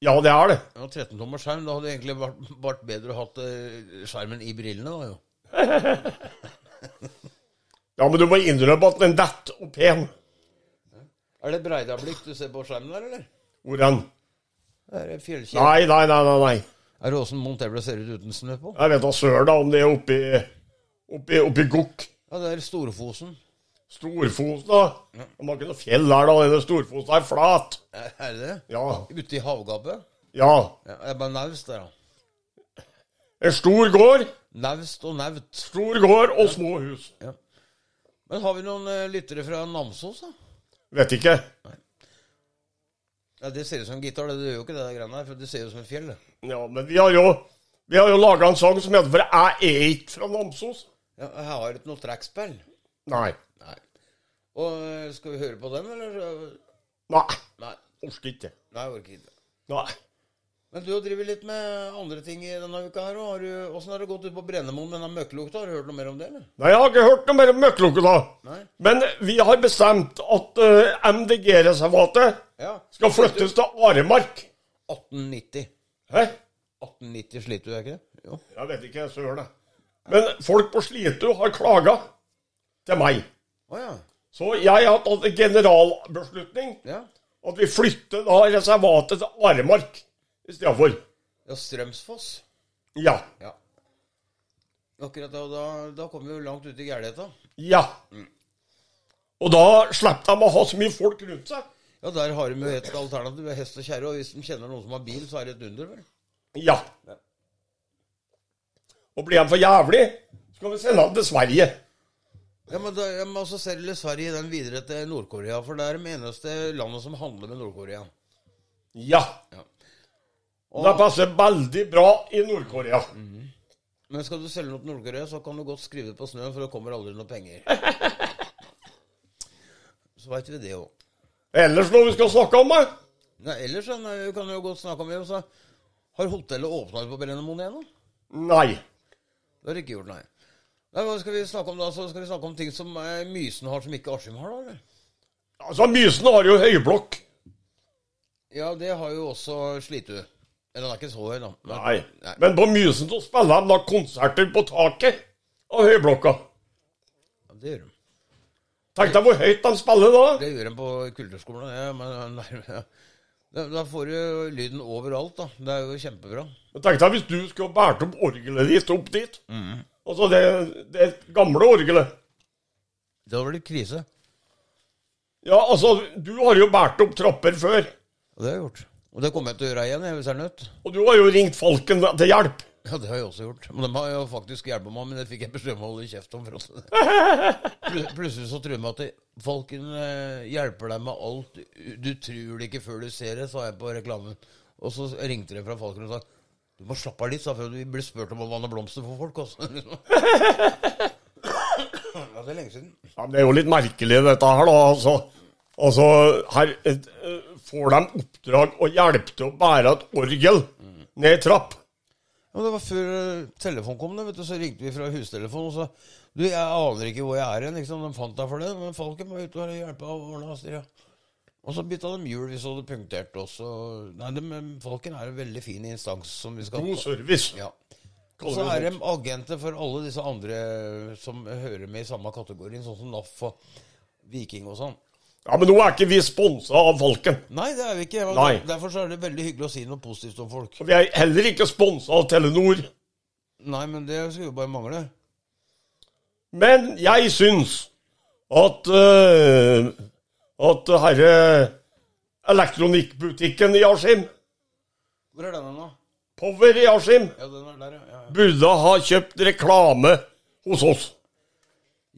[SPEAKER 1] Ja, det er det.
[SPEAKER 2] Ja, 13 tommer skjerm. Da hadde det egentlig vært, vært bedre å hatt eh, skjermen i brillene. da jo.
[SPEAKER 1] Ja, men du må innrømme at den detter og pen.
[SPEAKER 2] Er det Breidablikk du ser på skjermen der, eller?
[SPEAKER 1] Hvor er den?
[SPEAKER 2] Det er fjellkjell.
[SPEAKER 1] Nei, nei, nei, nei. nei.
[SPEAKER 2] Er det åssen Montebello ser ut uten snø på?
[SPEAKER 1] Jeg vet da søren da, om det er oppi, oppi, oppi Gokk.
[SPEAKER 2] Ja, det er Storfosen.
[SPEAKER 1] Storfosen, da. Det var ikke noe fjell der, da. Denne Storfosen er flat.
[SPEAKER 2] Er er det det?
[SPEAKER 1] Ja.
[SPEAKER 2] Ute i havgapet?
[SPEAKER 1] ja.
[SPEAKER 2] Ja, det er bare naust der, da.
[SPEAKER 1] En stor gård,
[SPEAKER 2] Naust og naut.
[SPEAKER 1] stor gård og små hus.
[SPEAKER 2] Ja. Men har vi noen eh, lyttere fra Namsos, da?
[SPEAKER 1] Vet ikke.
[SPEAKER 2] Ja, Det ser ut som en gitar, det, det gjør jo ikke det der greiene her, for det ser ut som et fjell. det.
[SPEAKER 1] Ja, men vi har jo, vi har jo laga en sang som heter 'For jeg er ikke fra Namsos'.
[SPEAKER 2] Ja, jeg har ikke noe trekkspill.
[SPEAKER 1] Nei.
[SPEAKER 2] Nei. Og eh, skal vi høre på den, eller?
[SPEAKER 1] Nei.
[SPEAKER 2] Nei.
[SPEAKER 1] Orker ikke.
[SPEAKER 2] Nei, jeg orker ikke.
[SPEAKER 1] Nei.
[SPEAKER 2] Men du har drevet litt med andre ting i denne uka her òg. Åssen har det gått ut på Brennemoen med den møkkelukta? Har du hørt noe mer om det, eller?
[SPEAKER 1] Nei, jeg har ikke hørt noe mer om møkkelukket, da.
[SPEAKER 2] Nei?
[SPEAKER 1] Men vi har bestemt at eh, MDG-reservatet
[SPEAKER 2] Ja.
[SPEAKER 1] skal flyttes til Aremark.
[SPEAKER 2] 1890.
[SPEAKER 1] Hæ?
[SPEAKER 2] 1890 sliter du, er ikke det? Jo.
[SPEAKER 1] Jeg vet ikke, søren. jeg. Men folk på Slitu har klaga til meg.
[SPEAKER 2] Å ja.
[SPEAKER 1] Så jeg har tatt en generalbeslutning
[SPEAKER 2] Ja.
[SPEAKER 1] at vi flytter da reservatet til Aremark istedenfor.
[SPEAKER 2] ja Strømsfoss.
[SPEAKER 1] Ja.
[SPEAKER 2] Ja. Akkurat da, da, da kom vi jo langt ut i gærligheta.
[SPEAKER 1] Ja. Og da slipper de å ha så mye folk rundt seg.
[SPEAKER 2] Ja, der har de jo et alternativ. Hest og kjerre. Og hvis de kjenner noen som har bil, så er det et under, vel.
[SPEAKER 1] Ja. Og blir de for jævlig, så kan vi sende dem til Sverige.
[SPEAKER 2] Ja, men da, ja, men også selger Sverige den videre til Nord-Korea, for det er det eneste landet som handler med Nord-Korea.
[SPEAKER 1] Ja.
[SPEAKER 2] Ja.
[SPEAKER 1] Og det passer veldig bra i Nord-Korea.
[SPEAKER 2] Men skal du selge noe til Nord-Korea, så kan du godt skrive det på snøen, for det kommer aldri noe penger. Så veit vi det òg.
[SPEAKER 1] Ellers noe vi skal snakke om, da?
[SPEAKER 2] Nei, ellers så, nei, vi kan jo godt snakke om det. Så har hotellet åpna på Brennemoen igjen? da?
[SPEAKER 1] Nei.
[SPEAKER 2] Det har det ikke gjort, nei. nei hva skal vi snakke om da? Så skal vi snakke om ting som eh, Mysen har, som ikke Askim har, da? eller?
[SPEAKER 1] Altså, Mysen har jo høyblokk.
[SPEAKER 2] Ja, det har jo også Slitu. Eller den er ikke så høy, da. Men,
[SPEAKER 1] Nei.
[SPEAKER 2] Nei.
[SPEAKER 1] Men på Mysen så spiller de da konserter på taket av høyblokka.
[SPEAKER 2] ja, det gjør de.
[SPEAKER 1] Tenk deg hvor høyt de spiller da.
[SPEAKER 2] Det gjør de på kulturskolen. Ja, men, nærmere- da, da får du jo lyden overalt, da. Det er jo kjempebra.
[SPEAKER 1] Men Tenk deg hvis du skulle båret opp orgelet ditt opp dit. Altså det, det gamle orgelet.
[SPEAKER 2] Det hadde blitt krise.
[SPEAKER 1] Ja, altså, du har jo båret opp trapper før.
[SPEAKER 2] Og det har jeg gjort. Og det kommer jeg til å gjøre igjen, jeg, hvis jeg er nødt.
[SPEAKER 1] Og du har jo ringt Falken til hjelp.
[SPEAKER 2] Ja, det har jeg også gjort. Men de har jo faktisk hjulpet meg, men det fikk jeg beskjed om å holde kjeft om. for at- Pl- Plutselig så tror de at de- Falken eh, hjelper deg med alt. Du tror det ikke før du ser det, sa jeg på reklamen. Og så ringte de fra Falken og sa du må slappe av litt, sa jeg, for vi blir spurt om å vanne blomster for folk også. ja, det er lenge siden.
[SPEAKER 1] Ja, men det er jo litt merkelig dette her, da. Altså, altså her et, eh, får de oppdrag å hjelpe til å bære et orgel ned i trapp.
[SPEAKER 2] Ja, men det var før eh, telefonen kom, det, vet du, så ringte vi fra hustelefonen og sa Du, jeg aner ikke hvor jeg er hen. Liksom. De fant deg for det. Men Falken var ute og hjelpa og ordna styr. Ja. Og så bytta de hjul hvis du hadde punktert også. Nei, de, men Falken er en veldig fin instans som vi skal
[SPEAKER 1] God service.
[SPEAKER 2] Ja.
[SPEAKER 1] kaller
[SPEAKER 2] Og så
[SPEAKER 1] vi
[SPEAKER 2] er de
[SPEAKER 1] sånt.
[SPEAKER 2] agenter for alle disse andre som hører med i samme kategorien, sånn som NAF og Viking og sånn.
[SPEAKER 1] Ja, Men nå er ikke vi sponsa av Falken.
[SPEAKER 2] Nei, det er vi ikke. og
[SPEAKER 1] Nei.
[SPEAKER 2] Derfor så er det veldig hyggelig å si noe positivt om folk.
[SPEAKER 1] Og vi er heller ikke sponsa av Telenor.
[SPEAKER 2] Nei, men det skulle jo bare mangle.
[SPEAKER 1] Men jeg syns at eh, At herre elektronikkbutikken i Askim,
[SPEAKER 2] Hvor er den hen, da?
[SPEAKER 1] Power i Askim,
[SPEAKER 2] Ja, den er der, ja. ja. ja.
[SPEAKER 1] burde ha kjøpt reklame hos oss.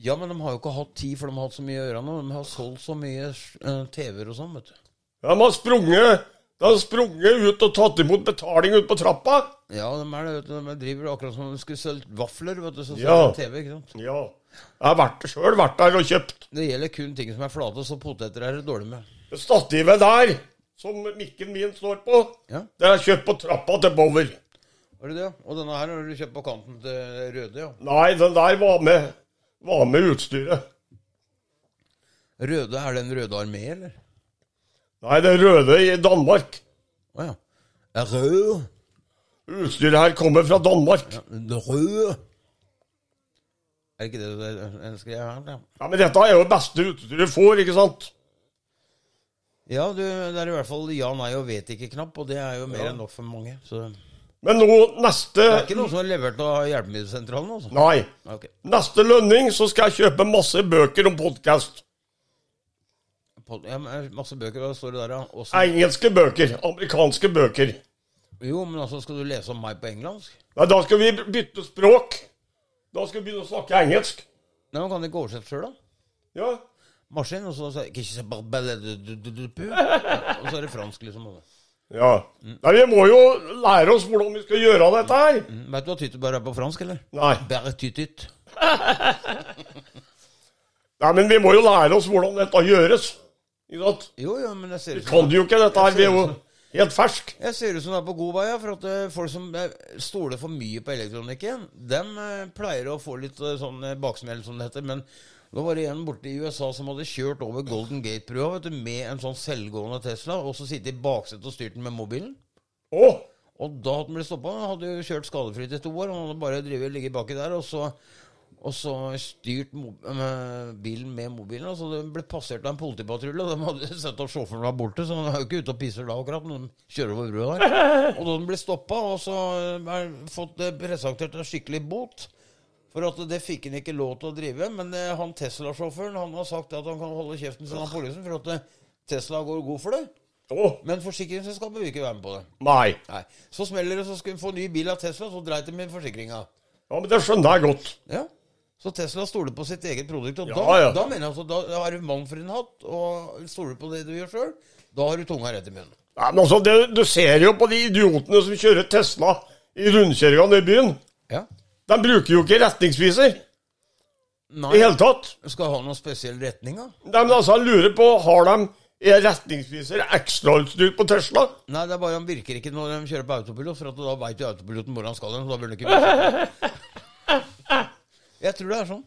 [SPEAKER 2] Ja, men de har jo ikke hatt tid, for de har hatt så mye å gjøre nå. De har solgt så mye eh, TV-er og sånn, vet du.
[SPEAKER 1] De har sprunget, de har sprunget ut og tatt imot betaling ut på trappa.
[SPEAKER 2] Ja, de er det, vet du. De driver akkurat som om de skulle solgt vafler, vet du. Så selger
[SPEAKER 1] Ja.
[SPEAKER 2] de TV, ikke sant.
[SPEAKER 1] Ja. Jeg har vært, selv vært der og kjøpt.
[SPEAKER 2] Det gjelder kun ting som er flate, så poteter er det dårlig med.
[SPEAKER 1] Det stativet der, som mikken min står på,
[SPEAKER 2] Ja,
[SPEAKER 1] det har jeg kjøpt på trappa til Bower.
[SPEAKER 2] var det det? ja? Og denne her har du kjøpt på kanten til det Røde, ja.
[SPEAKER 1] Nei, den der var med, var med utstyret.
[SPEAKER 2] Røde, er det en Røde armé, eller?
[SPEAKER 1] Nei, det røde i Danmark.
[SPEAKER 2] Å ja. Er Rød.
[SPEAKER 1] Utstyret her kommer fra Danmark.
[SPEAKER 2] Ja, det Rød. Er det ikke det det det skrev her? da?
[SPEAKER 1] Ja, men dette er jo det beste utstyret du får, ikke sant?
[SPEAKER 2] Ja, du, det er i hvert fall ja, nei og vet ikke-knapp, og det er jo mer enn nok for mange. Så
[SPEAKER 1] Men nå neste
[SPEAKER 2] Det er ikke noe som er levert av hjelpemiddelsentralen, altså?
[SPEAKER 1] Nei.
[SPEAKER 2] Ok.
[SPEAKER 1] Neste lønning så skal jeg kjøpe masse bøker om podkast.
[SPEAKER 2] Pod- Ja, men masse bøker, og da står det der, ja. Også,
[SPEAKER 1] Engelske bøker. Amerikanske bøker.
[SPEAKER 2] jo, men altså, skal du lese om meg på engelsk?
[SPEAKER 1] Nei, da skal vi bytte språk. Da skal vi begynne å snakke engelsk.
[SPEAKER 2] Nei, man kan ikke oversette sjøl, da.
[SPEAKER 1] Ja.
[SPEAKER 2] Maskin, og så så- ikke så- bare- bare- du- du- du- du- pu. Ja, Og så er det fransk, liksom. og det.
[SPEAKER 1] ja. Nei, vi må jo lære oss hvordan vi skal gjøre dette her.
[SPEAKER 2] Mm, Vet du hva tyttebær er på fransk, eller?
[SPEAKER 1] Nei.
[SPEAKER 2] Bære tytyt.
[SPEAKER 1] Nei, men vi må jo lære oss hvordan dette gjøres. Ikke sant?
[SPEAKER 2] Jo, jo, men jeg ser ut
[SPEAKER 1] Vi
[SPEAKER 2] som
[SPEAKER 1] kan jo ikke dette her. Vi er jo helt fersk.
[SPEAKER 2] Jeg ser ut som det er på god vei, ja, for at eh, folk som eh, stoler for mye på elektronikken, dem eh, pleier å få litt eh, sånn eh, baksmell, som det heter. Men det var en borte i USA som hadde kjørt over Golden Gate-brua vet du, med en sånn selvgående Tesla, og så sittet i baksetet og styrt den med mobilen.
[SPEAKER 1] Å,
[SPEAKER 2] Og da hadde han blitt stoppa. Han hadde jo kjørt skadefritt i to år. Han hadde bare drivet og ligget baki der, og så, og så styrt mo- med bilen med mobilen. Og så det ble passert av en politipatrulje, og de hadde sett at sjåføren var borte, så han er jo ikke ute og pisser da akkurat, men de kjører over brua der. Og da han ble stoppa, og så har fått eh, presentert en skikkelig bot. For at det fikk han ikke lov til å drive, men eh, han Tesla-sjåføren han har sagt at han kan holde kjeften sin av politiet, for at eh, Tesla går god for det.
[SPEAKER 1] å,
[SPEAKER 2] Men forsikringsselskapet vil ikke være med på det.
[SPEAKER 1] nei.
[SPEAKER 2] Nei. Så smeller det, så skulle hun få ny bil av Tesla, så dreit de i forsikringa.
[SPEAKER 1] Ja, men det skjønner jeg godt.
[SPEAKER 2] Ja. Så Tesla stoler på sitt eget produkt. Og
[SPEAKER 1] Ja,
[SPEAKER 2] da,
[SPEAKER 1] ja.
[SPEAKER 2] da mener jeg altså, da har du mann for en hatt, og stoler på det du gjør sjøl. Da har du tunga rett i munnen.
[SPEAKER 1] Nei, men altså, det, Du ser jo på de idiotene som kjører Tesla i rundkjøringene i byen.
[SPEAKER 2] Ja.
[SPEAKER 1] De bruker jo ikke retningsviser
[SPEAKER 2] Nei,
[SPEAKER 1] i hele tatt.
[SPEAKER 2] skal ha noen spesiell retning, da?
[SPEAKER 1] Nei, men altså, Jeg lurer på har de er retningsviser ekstrautstyr på Tesla.
[SPEAKER 2] Nei, det er bare han virker ikke når de kjører på autopilot, for at da veit jo autopiloten hvor han skal hen, så da bør han ikke virke. Jeg tror det er sånn.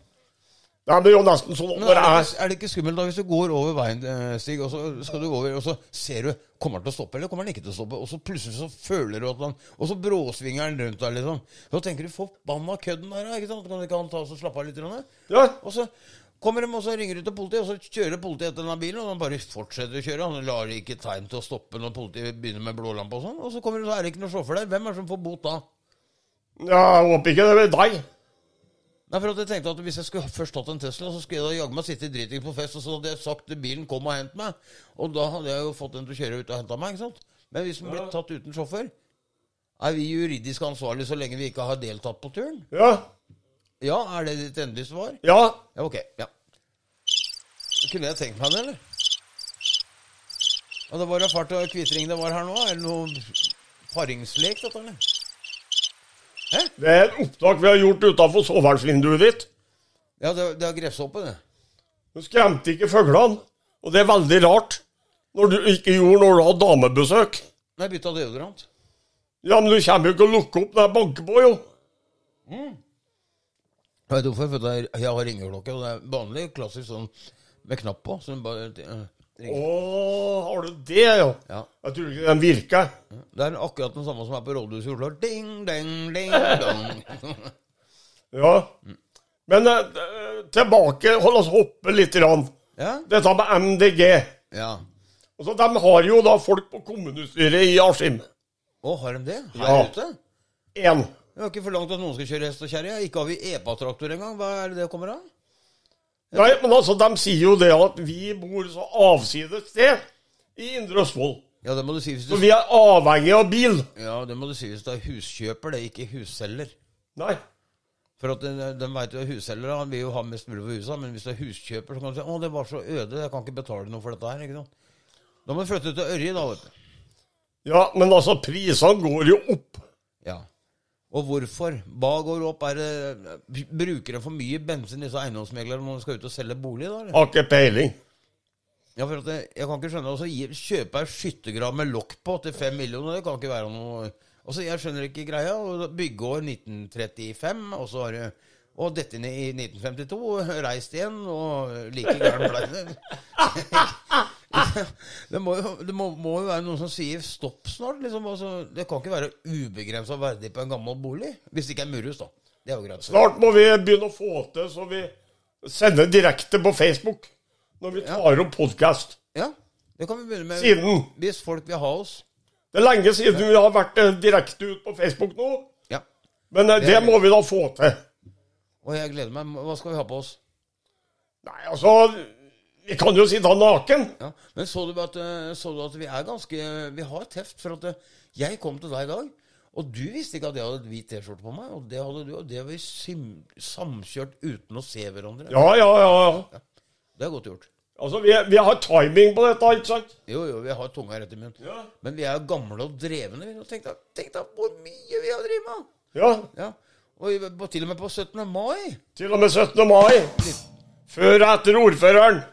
[SPEAKER 1] Nei, men Det er jo nesten sånn at
[SPEAKER 2] Men er
[SPEAKER 1] når
[SPEAKER 2] det,
[SPEAKER 1] jeg
[SPEAKER 2] ikke, er det ikke skummelt da hvis du går over veien, eh, Stig, og så skal du gå over, og så ser du Kommer han til å stoppe, eller kommer han ikke til å stoppe? Og så plutselig så føler du at han Og så bråsvinger han rundt deg, liksom. Så tenker du forbanna kødden der, ja, ikke sant? Kan ikke han ta oss og slappe av litt? Grann?
[SPEAKER 1] ja,
[SPEAKER 2] Og så kommer de, og så ringer du til politiet, og så kjører politiet etter denne bilen, og han bare fortsetter å kjøre. Han lar ikke tegn til å stoppe når politiet begynner med blålampe og sånn. Og så kommer det, så er det ikke noen sjåfør der. Hvem er det som får bot da?
[SPEAKER 1] ja, Jeg håper ikke det er deg.
[SPEAKER 2] Nei, for at jeg tenkte at Hvis jeg skulle først tatt en Tesla, så skulle jeg da jaggu meg sitte i driting på fest, og så hadde jeg sagt til bilen 'kom og hent meg', og da hadde jeg jo fått den til å kjøre ut og hente meg. ikke sant? Men hvis den blir tatt uten sjåfør, er vi juridisk ansvarlige så lenge vi ikke har deltatt på turen?
[SPEAKER 1] Ja,
[SPEAKER 2] Ja, er det ditt endelige svar?
[SPEAKER 1] ja.
[SPEAKER 2] Ja, ok. ja. Kunne jeg tenkt meg det, eller? Og det var da fart og kvittring det var her nå? Er det noe paringslek, dette, eller? Hæ?
[SPEAKER 1] Det er et opptak vi har gjort utafor soveværelsesvinduet ditt.
[SPEAKER 2] Ja, det, det er gresshoppe, det.
[SPEAKER 1] Du skremte ikke fuglene, og det er veldig rart. Når du ikke gjorde når du hadde damebesøk.
[SPEAKER 2] Nei, bytta deodorant.
[SPEAKER 1] Ja, men du kommer jo ikke å lukke opp når jeg banker på, jo.
[SPEAKER 2] Jeg vet hvorfor, for det er- jeg har ringeklokke, og det er vanlig, klassisk sånn med knapp på. Så den bare eh, ringer.
[SPEAKER 1] Å, har du det, ja?
[SPEAKER 2] Ja.
[SPEAKER 1] Jeg tror ikke den virker.
[SPEAKER 2] Det er akkurat den samme som er på rådhuset i Oslo. Ding, ding, ding, dong.
[SPEAKER 1] Ja. Men eh, eh, tilbake, hold oss hoppe litt. Grann.
[SPEAKER 2] ja,
[SPEAKER 1] Dette med MDG.
[SPEAKER 2] ja.
[SPEAKER 1] Altså, de har jo da folk på kommunestyret i Askim.
[SPEAKER 2] Å, har de det? Her
[SPEAKER 1] Ja.
[SPEAKER 2] ute?
[SPEAKER 1] Én.
[SPEAKER 2] Det var ikke for langt at noen skal kjøre hest og kjerre. Ikke har vi EPA-traktor engang. Hva er det det kommer av?
[SPEAKER 1] Nei, men altså, de sier jo det at vi bor så avsides sted i Indre Østfold.
[SPEAKER 2] Ja, det må du si hvis
[SPEAKER 1] Så
[SPEAKER 2] du,
[SPEAKER 1] vi er avhengig av bil.
[SPEAKER 2] ja, det, må du si hvis du er huskjøper, det er ikke husselger.
[SPEAKER 1] Nei.
[SPEAKER 2] For at den, den vet jo at husselger han vil jo ha mest mulig for huset, men hvis du er huskjøper, så kan du si 'Å, det var så øde, jeg kan ikke betale noe for dette her'. ikke sant? Da må du flytte til Ørje, da. vet du.
[SPEAKER 1] Ja, men altså, prisene går jo opp.
[SPEAKER 2] Ja. Og hvorfor? Hva går opp? Er det, bruker de for mye bensin, disse eiendomsmeglerne, når de skal ut og selge bolig? da? eller?
[SPEAKER 1] Har ikke peiling.
[SPEAKER 2] Ja, for at jeg, jeg kan ikke skjønne altså, gi- Kjøpe ei skyttergrav med lokk på til fem millioner, det kan ikke være noe Altså, Jeg skjønner ikke greia. og da- Byggeår 1935, og så har du og dette inn i 1952, reist igjen, og like gæren blei det. Det, må jo, det må, må jo være noen som sier stopp snart. liksom. Altså, det kan ikke være ubegrensa verdig på en gammel bolig. Hvis det ikke er murhus, da. Det er jo greit.
[SPEAKER 1] Snart må vi begynne å få til så vi sender direkte på Facebook når vi tar opp podkast.
[SPEAKER 2] Ja, det kan vi begynne med.
[SPEAKER 1] Siden.
[SPEAKER 2] Hvis folk vil ha oss.
[SPEAKER 1] Det er lenge siden vi har vært eh, direkte ut på Facebook nå,
[SPEAKER 2] Ja.
[SPEAKER 1] men eh,
[SPEAKER 2] Det
[SPEAKER 1] det
[SPEAKER 2] er-
[SPEAKER 1] må vi da få til.
[SPEAKER 2] Og jeg gleder meg. Hva skal vi ha på oss?
[SPEAKER 1] Nei, altså Vi kan jo sitte naken.
[SPEAKER 2] Ja. Men så du, at, eh, så du at vi er ganske Vi har teft. For at eh, jeg kom til deg i dag, og du visste ikke at jeg hadde et hvit T-skjorte på meg. Og det hadde du, og det har vi sim samkjørt uten å se hverandre.
[SPEAKER 1] Ja, ja, ja. ja.
[SPEAKER 2] Det er godt gjort.
[SPEAKER 1] Altså, vi, vi har timing på dette, ikke sant?
[SPEAKER 2] Jo, jo, vi har tunga rett i munnen.
[SPEAKER 1] Ja.
[SPEAKER 2] Men vi er jo gamle og drevne. vi. Og Tenk deg, tenk deg hvor mye vi har drevet med!
[SPEAKER 1] Ja,
[SPEAKER 2] Ja. Og i- på- til og med på 17. mai.
[SPEAKER 1] Til og med 17. mai. Før og etter ordføreren.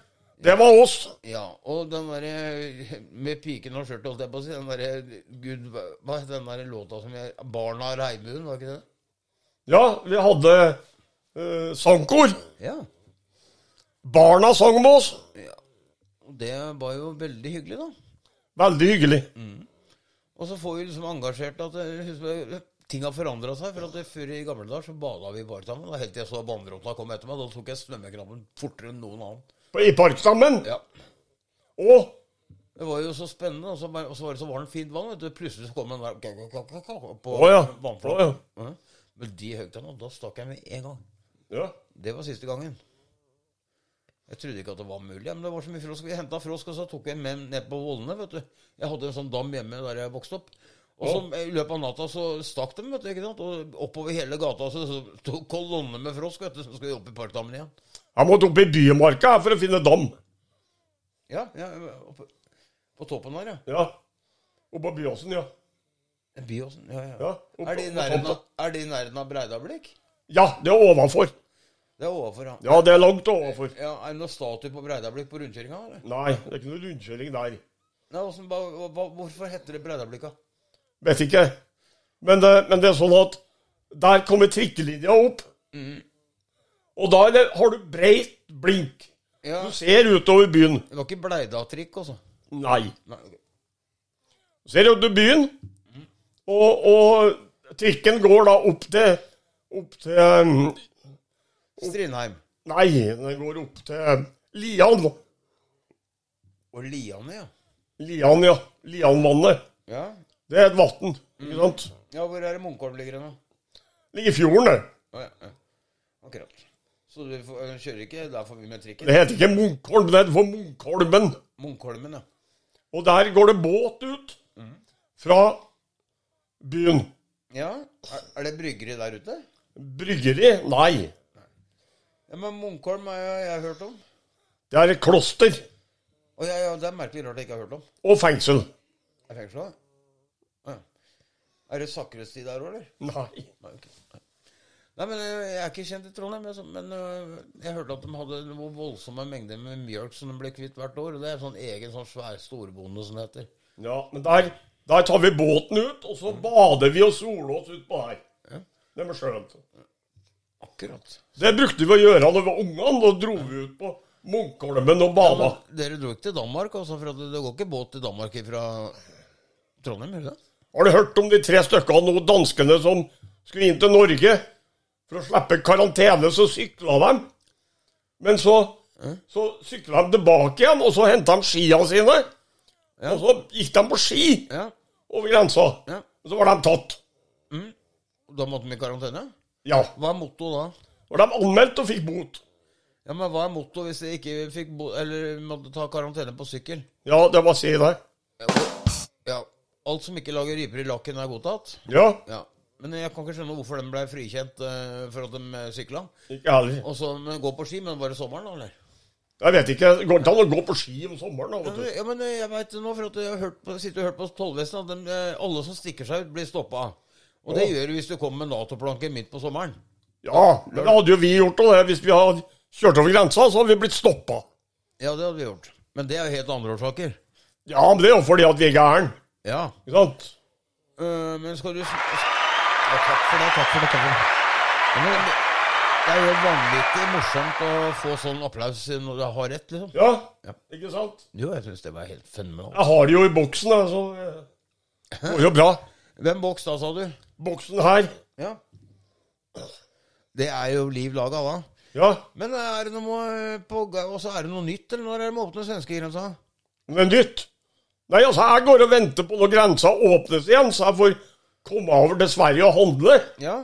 [SPEAKER 1] Det var oss.
[SPEAKER 2] Ja, og den derre med piken og skjørtet, holdt jeg på å si. Den derre Gud, hva- hva het den derre låta som jeg Barna av regnbuen, var ikke det?
[SPEAKER 1] Ja, vi hadde eh, sangkor.
[SPEAKER 2] Ja.
[SPEAKER 1] Barna sang med oss.
[SPEAKER 2] Og det var jo veldig hyggelig, da.
[SPEAKER 1] Veldig hyggelig.
[SPEAKER 2] Og så får vi liksom engasjert at eh, husk på, ting har forandra seg. For at det før i gamle dager så bada vi bare sammen. Da Helt til jeg så banderotta kom etter meg. Da tok jeg svømmeknabben fortere enn noen annen.
[SPEAKER 1] På- I Parksammen.
[SPEAKER 2] Ja.
[SPEAKER 1] Og
[SPEAKER 2] Det var jo så spennende, og så, bare- og så var det så varmt, fint vann. vet du. Plutselig så kom den der kak, kak, kak, kak, på
[SPEAKER 1] Å ja.
[SPEAKER 2] vannflaten.
[SPEAKER 1] Å
[SPEAKER 2] Ja. Men de høyttalerne, og da stakk jeg med en gang.
[SPEAKER 1] ja.
[SPEAKER 2] Det var siste gangen. Jeg trodde ikke at det var mulig, men det var så mye frosk. Vi henta frosk, og så tok jeg med ned på vollene. vet du. Jeg hadde en sånn dam hjemme der jeg vokste opp. Og så I løpet av natta så stakk de, vet du. ikke sant? Og oppover hele gata så, så tok kolonner med frosk vet du, som skulle opp i parkdammen igjen.
[SPEAKER 1] Jeg måtte opp i Bymarka for å finne dam.
[SPEAKER 2] Ja, ja, oppe, På toppen der, ja.
[SPEAKER 1] Ja. Oppe på Byåsen, ja.
[SPEAKER 2] Byåsen. Ja, ja.
[SPEAKER 1] Ja, opp-
[SPEAKER 2] er, de i
[SPEAKER 1] opp-
[SPEAKER 2] nærheten av,
[SPEAKER 1] opp-
[SPEAKER 2] er de i nærheten av Breidablikk?
[SPEAKER 1] Ja, det er overfor.
[SPEAKER 2] Det er overfor, ja.
[SPEAKER 1] Ja, det er langt overfor.
[SPEAKER 2] ja er det noen statue på Breidablikk på rundkjøringa? eller?
[SPEAKER 1] Nei, det er ikke noe rundkjøring der.
[SPEAKER 2] Nei, hvordan- hva, hva, hvorfor heter det Breidablikka?
[SPEAKER 1] Vet ikke. Men det, men det er sånn at der kommer trikkelinja opp.
[SPEAKER 2] Mhm.
[SPEAKER 1] Og da er det, har du breit blink.
[SPEAKER 2] Ja,
[SPEAKER 1] Du ser utover byen.
[SPEAKER 2] det var ikke Bleidatrikk, altså.
[SPEAKER 1] Nei.
[SPEAKER 2] Nei, ok.
[SPEAKER 1] Du ser utover byen, og, og trikken går da opp til Opp til um,
[SPEAKER 2] Strindheim.
[SPEAKER 1] Nei, den går opp til Lian.
[SPEAKER 2] Og Liane, ja.
[SPEAKER 1] Lian, ja. Lianvannet.
[SPEAKER 2] ja.
[SPEAKER 1] Det er et vann, ikke sant?
[SPEAKER 2] Ja, hvor er det Munkholm ligger hen, da?
[SPEAKER 1] Ligger i fjorden, det.
[SPEAKER 2] Å, ja, ja. Akkurat. Så du får, øh, kjører ikke der får vi med trikken?
[SPEAKER 1] Det heter ikke Munkholm, det heter for Munkholmen.
[SPEAKER 2] Munkholmen, ja.
[SPEAKER 1] Og der går det båt ut fra byen.
[SPEAKER 2] Ja, Er, er det bryggeri der ute?
[SPEAKER 1] Bryggeri? Nei.
[SPEAKER 2] Ja, Men Munkholm har jeg, jeg har hørt om.
[SPEAKER 1] Det er et kloster
[SPEAKER 2] Og ja, ja, Det er merkelig rart jeg ikke har hørt om.
[SPEAKER 1] og fengsel.
[SPEAKER 2] Er fengsla? Ja. Er det sakristi der òg, eller?
[SPEAKER 1] Nei.
[SPEAKER 2] Nei, ok. Nei. Nei, men øh, Jeg er ikke kjent i Trondheim, jeg, så- men øh, jeg hørte at de hadde noe voldsomme mengder med mjølk som de ble kvitt hvert år. og Det er sånn egen sånn svær storbonde som det heter.
[SPEAKER 1] Ja, men der, der tar vi båten ut, og så bader vi og soler oss utpå her.
[SPEAKER 2] Ja.
[SPEAKER 1] Det var skjønt.
[SPEAKER 2] Akkurat.
[SPEAKER 1] Det brukte vi å gjøre da vi var ungene. Da dro vi ut på Munkholmen og bada.
[SPEAKER 2] Dere dro ikke til Danmark, altså, for at det går ikke båt til Danmark fra Trondheim? Eller?
[SPEAKER 1] Har du hørt om de tre stykkene av noen danskene som skulle inn til Norge for å slippe karantene, så sykla de. Men så, så sykla de tilbake igjen, og så henta de skia sine.
[SPEAKER 2] Ja.
[SPEAKER 1] Og så gikk de på ski
[SPEAKER 2] Ja.
[SPEAKER 1] over grensa.
[SPEAKER 2] ja.
[SPEAKER 1] Og så var de tatt.
[SPEAKER 2] Da måtte de i karantene?
[SPEAKER 1] Ja.
[SPEAKER 2] Hva er motto da?
[SPEAKER 1] Og de anmeldt og fikk bot.
[SPEAKER 2] Ja, men Hva er motto hvis de ikke fikk bo eller måtte ta karantene på sykkel?
[SPEAKER 1] Ja, det var si der.
[SPEAKER 2] Ja, Alt som ikke lager riper i lakken, er godtatt?
[SPEAKER 1] Ja.
[SPEAKER 2] Ja. Men jeg kan ikke skjønne hvorfor de ble frikjent eh, for at de sykla.
[SPEAKER 1] Ikke heller.
[SPEAKER 2] Og så men gå på ski, men bare sommeren, da, eller?
[SPEAKER 1] Jeg vet ikke. Det går ikke an å gå på ski om sommeren. Da, vet du.
[SPEAKER 2] Ja, men eh, jeg vet det nå, for at jeg har hørt på, sitter og hørt på tollvesenet, at de, eh, alle som stikker seg ut, blir stoppa. Og det
[SPEAKER 1] Å.
[SPEAKER 2] gjør du hvis du kommer med Nato-planken midt på sommeren.
[SPEAKER 1] Ja, men det hadde jo vi gjort og det. Hvis vi hadde kjørt over grensa, så hadde vi blitt stoppa.
[SPEAKER 2] Ja, det hadde vi gjort. Men det er jo helt andre årsaker.
[SPEAKER 1] Ja, men det er jo fordi at vi er gæren.
[SPEAKER 2] Ja.
[SPEAKER 1] Ikke sant?
[SPEAKER 2] Eh, men skal du s- ja, Takk for det, takk for det. Takk for det. Ja, men det- det er jo vanvittig morsomt å få sånn applaus når du har rett, liksom.
[SPEAKER 1] Ja,
[SPEAKER 2] Ja.
[SPEAKER 1] ikke sant?
[SPEAKER 2] Jo, jeg syns det var helt fenomenalt.
[SPEAKER 1] Jeg har det jo i boksen, da, så eh, det går jo bra.
[SPEAKER 2] Hvem boks da, sa du?
[SPEAKER 1] Boksen her.
[SPEAKER 2] Ja. Det er jo liv laga, da.
[SPEAKER 1] Ja.
[SPEAKER 2] Men er det eh, noe på, ga- og så er det noe nytt, eller når er det med åpne svenskegrensa?
[SPEAKER 1] Men nytt. Nei, altså, jeg går og venter på når grensa åpnes igjen, så jeg får komme over til Sverige og handle.
[SPEAKER 2] Ja.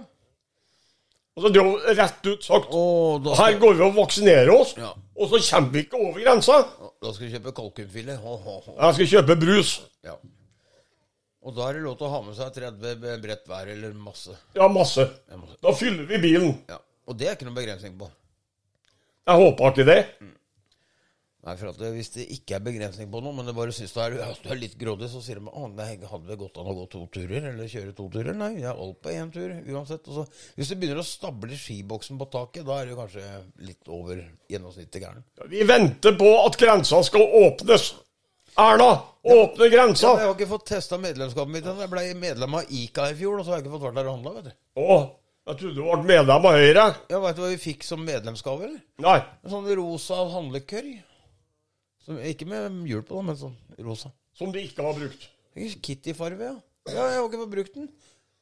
[SPEAKER 1] Altså, det er jo rett ut sagt.
[SPEAKER 2] Og da
[SPEAKER 1] Her
[SPEAKER 2] skal,
[SPEAKER 1] går vi og vaksinerer oss,
[SPEAKER 2] Ja.
[SPEAKER 1] og så kommer vi ikke over grensa.
[SPEAKER 2] da skal du kjøpe kalkunfilet. Ho, ho, ho.
[SPEAKER 1] Jeg skal kjøpe brus.
[SPEAKER 2] Ja. Og da er det lov til å ha med seg 30 b- brett hver, eller masse.
[SPEAKER 1] Ja, masse.
[SPEAKER 2] Jeg må-
[SPEAKER 1] Da fyller vi bilen.
[SPEAKER 2] Ja. Og det er ikke noen begrensning på.
[SPEAKER 1] Jeg håper ikke det.
[SPEAKER 2] Nei, for at det, Hvis det ikke er begrensning på noe, men det bare syns du er, ja, du er litt grådig, så sier de at hadde det gått an å gå to turer, eller kjøre to turer? Nei, jeg er alt på én tur uansett. Og så, hvis du begynner å stable skiboksen på taket, da er du kanskje litt over gjennomsnittet gæren.
[SPEAKER 1] Vi venter på at grensa skal åpnes. Erna, åpne grensa!
[SPEAKER 2] Ja, men jeg har ikke fått testa medlemskapet mitt ennå. Jeg ble medlem av ICA i fjor, og så har jeg ikke fått vært der og handla, vet du.
[SPEAKER 1] Å, jeg trodde du ble medlem av Høyre.
[SPEAKER 2] Ja, Veit du hva vi fikk som medlemsgave, eller?
[SPEAKER 1] Nei.
[SPEAKER 2] En sånn rosa handlekørj. Som, ikke med hjul på, da, men sånn rosa.
[SPEAKER 1] Som de ikke har brukt.
[SPEAKER 2] Ikke Kitty-farve, ja. ja. Jeg har ikke fått brukt den.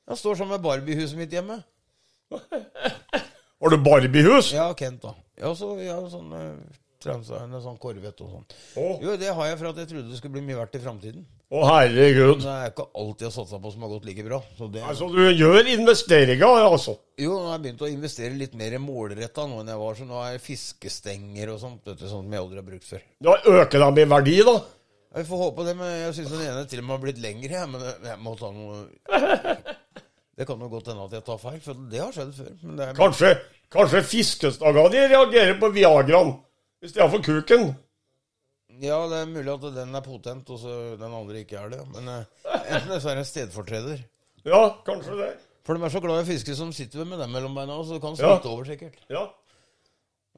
[SPEAKER 2] Den står sammen med Barbie-huset mitt hjemme.
[SPEAKER 1] Har du Barbiehus?
[SPEAKER 2] Ja, Kent, da. Ja, så jeg har sånn eh, transa, en sånn korvett og sånn.
[SPEAKER 1] Å.
[SPEAKER 2] Jo, det har jeg for at jeg trodde det skulle bli mye verdt i framtiden.
[SPEAKER 1] Å, herregud.
[SPEAKER 2] Det er ikke alt jeg har satsa på som har gått like bra. Så det,
[SPEAKER 1] Altså, du gjør investeringer, altså.
[SPEAKER 2] jo, nå har jeg begynt å investere litt mer målretta nå enn jeg var. Så nå har jeg fiskestenger og sånt, vet du, sånt som jeg aldri har brukt før.
[SPEAKER 1] Da øker de i verdi, da.
[SPEAKER 2] Ja, Vi får håpe det, men jeg syns den ene til og med har blitt lengre. Jeg, men jeg må ta noe Det kan jo godt hende at jeg tar feil, for det har skjedd før. Men det er,
[SPEAKER 1] Kanskje, kanskje fiskestanga di reagerer på Viagraen i stedet for kuken.
[SPEAKER 2] ja, det er mulig at den er potent, og så den andre ikke er det. Men eh, enten så er det en stedfortreder.
[SPEAKER 1] Ja, kanskje det.
[SPEAKER 2] For de er så glad i fiske som sitter med dem mellom beina, så det kan smitte over, sikkert.
[SPEAKER 1] Ja.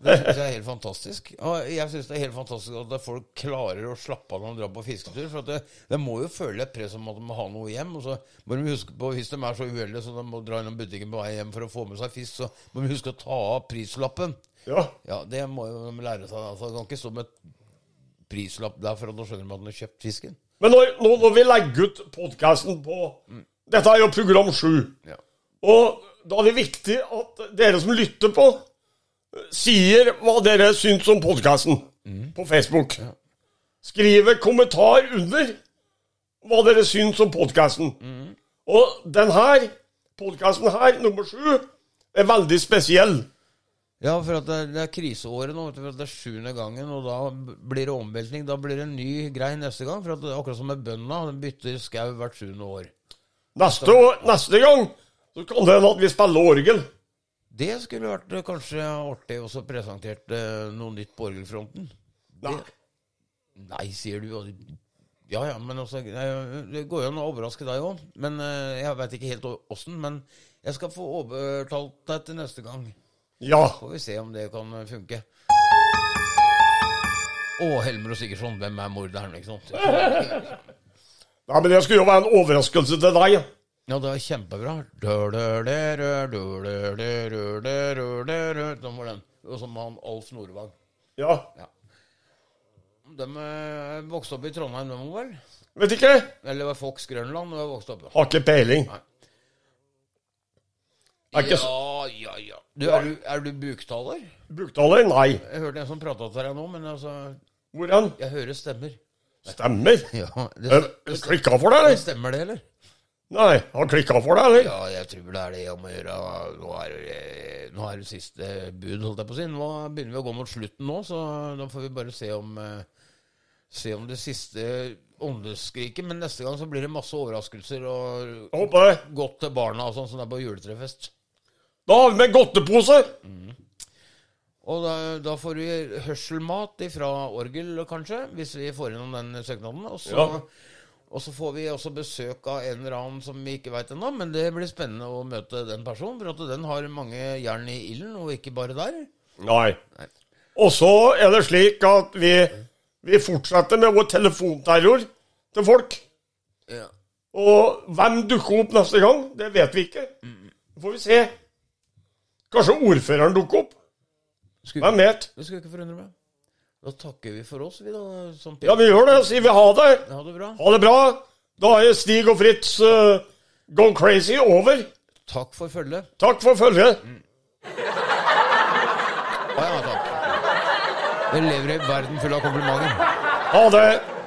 [SPEAKER 2] Det syns jeg er helt fantastisk. Og jeg syns det er helt fantastisk at det- folk klarer å slappe av når de drar på fisketur. For at det, de må jo føle et press om at de må ha noe hjem. Og så må de huske på, hvis de er så uheldige så de må dra innom butikken på vei hjem for å få med seg fisk, så må de huske å ta av prislappen.
[SPEAKER 1] ja.
[SPEAKER 2] Ja, det må jo de lære seg. Altså, de kan ikke stå med prislapp der for at de skjønner at de har kjøpt fisken.
[SPEAKER 1] Men når, nå når vi legger ut podkasten på Dette er jo program sju.
[SPEAKER 2] Ja.
[SPEAKER 1] Og da er det viktig at dere som lytter på, sier hva dere syns om podkasten på Facebook. Skrive kommentar under hva dere syns om podkasten. Og den her, podkasten her, nummer sju, er veldig spesiell.
[SPEAKER 2] Ja, for at det, er- det er kriseåret nå. Vet du, for at det er sjuende gangen, og da b- blir det omveltning. Da blir det en ny grei neste gang. For at det er akkurat som med bøndene, de bytter skau hvert sjuende år.
[SPEAKER 1] Neste, år- neste gang så kan det hende at vi spiller orgel.
[SPEAKER 2] Det skulle vært eh, kanskje artig også presentert eh, noe nytt på orgelfronten.
[SPEAKER 1] Nei.
[SPEAKER 2] Nei, sier du. og- Ja ja, men også, nei, det går jo an å overraske deg òg. Men eh, jeg veit ikke helt åssen. Men jeg skal få overtalt deg til neste gang.
[SPEAKER 1] Ja.
[SPEAKER 2] Får vi se om det kan funke. Å, Helmer og Sigurdsson, hvem er morderen? Ikke sant?
[SPEAKER 1] Nei, men det skulle jo være en overraskelse til deg.
[SPEAKER 2] Ja, det er kjempebra. Sånn var den. Og som han Alf Nordvang.
[SPEAKER 1] Ja.
[SPEAKER 2] De eh, vokste opp i Trondheim, de var vel?
[SPEAKER 1] Vet ikke.
[SPEAKER 2] Eller var Fox Grønland da jeg vokste opp?
[SPEAKER 1] Har ikke peiling.
[SPEAKER 2] Nei.
[SPEAKER 1] Er ikke s-
[SPEAKER 2] Ja, ja, ja. Du, er, du, er du buktaler?
[SPEAKER 1] Buktaler? Nei.
[SPEAKER 2] Jeg hørte en som prata til deg nå, men altså
[SPEAKER 1] Hvor hen?
[SPEAKER 2] Jeg hører stemmer.
[SPEAKER 1] Stemmer.
[SPEAKER 2] Ja, det,
[SPEAKER 1] Eh, Klikka for deg,
[SPEAKER 2] det
[SPEAKER 1] eller?
[SPEAKER 2] stemmer det, eller?
[SPEAKER 1] Nei, han klikka for deg, eller?
[SPEAKER 2] Ja, jeg tror det er det jeg må gjøre. Nå er, det- nå er det siste bud, holdt jeg på å si. Nå begynner vi å gå mot slutten nå, så da får vi bare se om, eh, se om det siste åndeskriket. Men neste gang så blir det masse overraskelser og
[SPEAKER 1] Jeg håper det.
[SPEAKER 2] godt til barna og sånn som det er på juletrefest.
[SPEAKER 1] Da har vi med godtepose.
[SPEAKER 2] Mm. Og da, da får vi hørselmat fra orgel, kanskje, hvis vi får innom den søknaden. Og så,
[SPEAKER 1] Ja.
[SPEAKER 2] og så får vi også besøk av en eller annen som vi ikke veit ennå, men det blir spennende å møte den personen, for at den har mange jern i ilden, og ikke bare der.
[SPEAKER 1] Nei.
[SPEAKER 2] Nei.
[SPEAKER 1] Og så er det slik at vi, vi fortsetter med vår telefonterror til folk.
[SPEAKER 2] Ja.
[SPEAKER 1] Og hvem dukker opp neste gang, det vet vi ikke.
[SPEAKER 2] Mm.
[SPEAKER 1] Det får vi se. Kanskje ordføreren dukker opp.
[SPEAKER 2] Skulle,
[SPEAKER 1] Hvem vet?
[SPEAKER 2] det skulle ikke forundre meg. Da takker vi for oss, vi da. Som
[SPEAKER 1] Ja, vi gjør det. Sier vi ha det.
[SPEAKER 2] Ha det bra.
[SPEAKER 1] Ha det bra. Da er Stig og Fritz eh, Go Crazy over.
[SPEAKER 2] Takk for følget.
[SPEAKER 1] Takk for følget.
[SPEAKER 2] Å ja, takk. Dere lever i en verden full av komplimenter.
[SPEAKER 1] Ha det.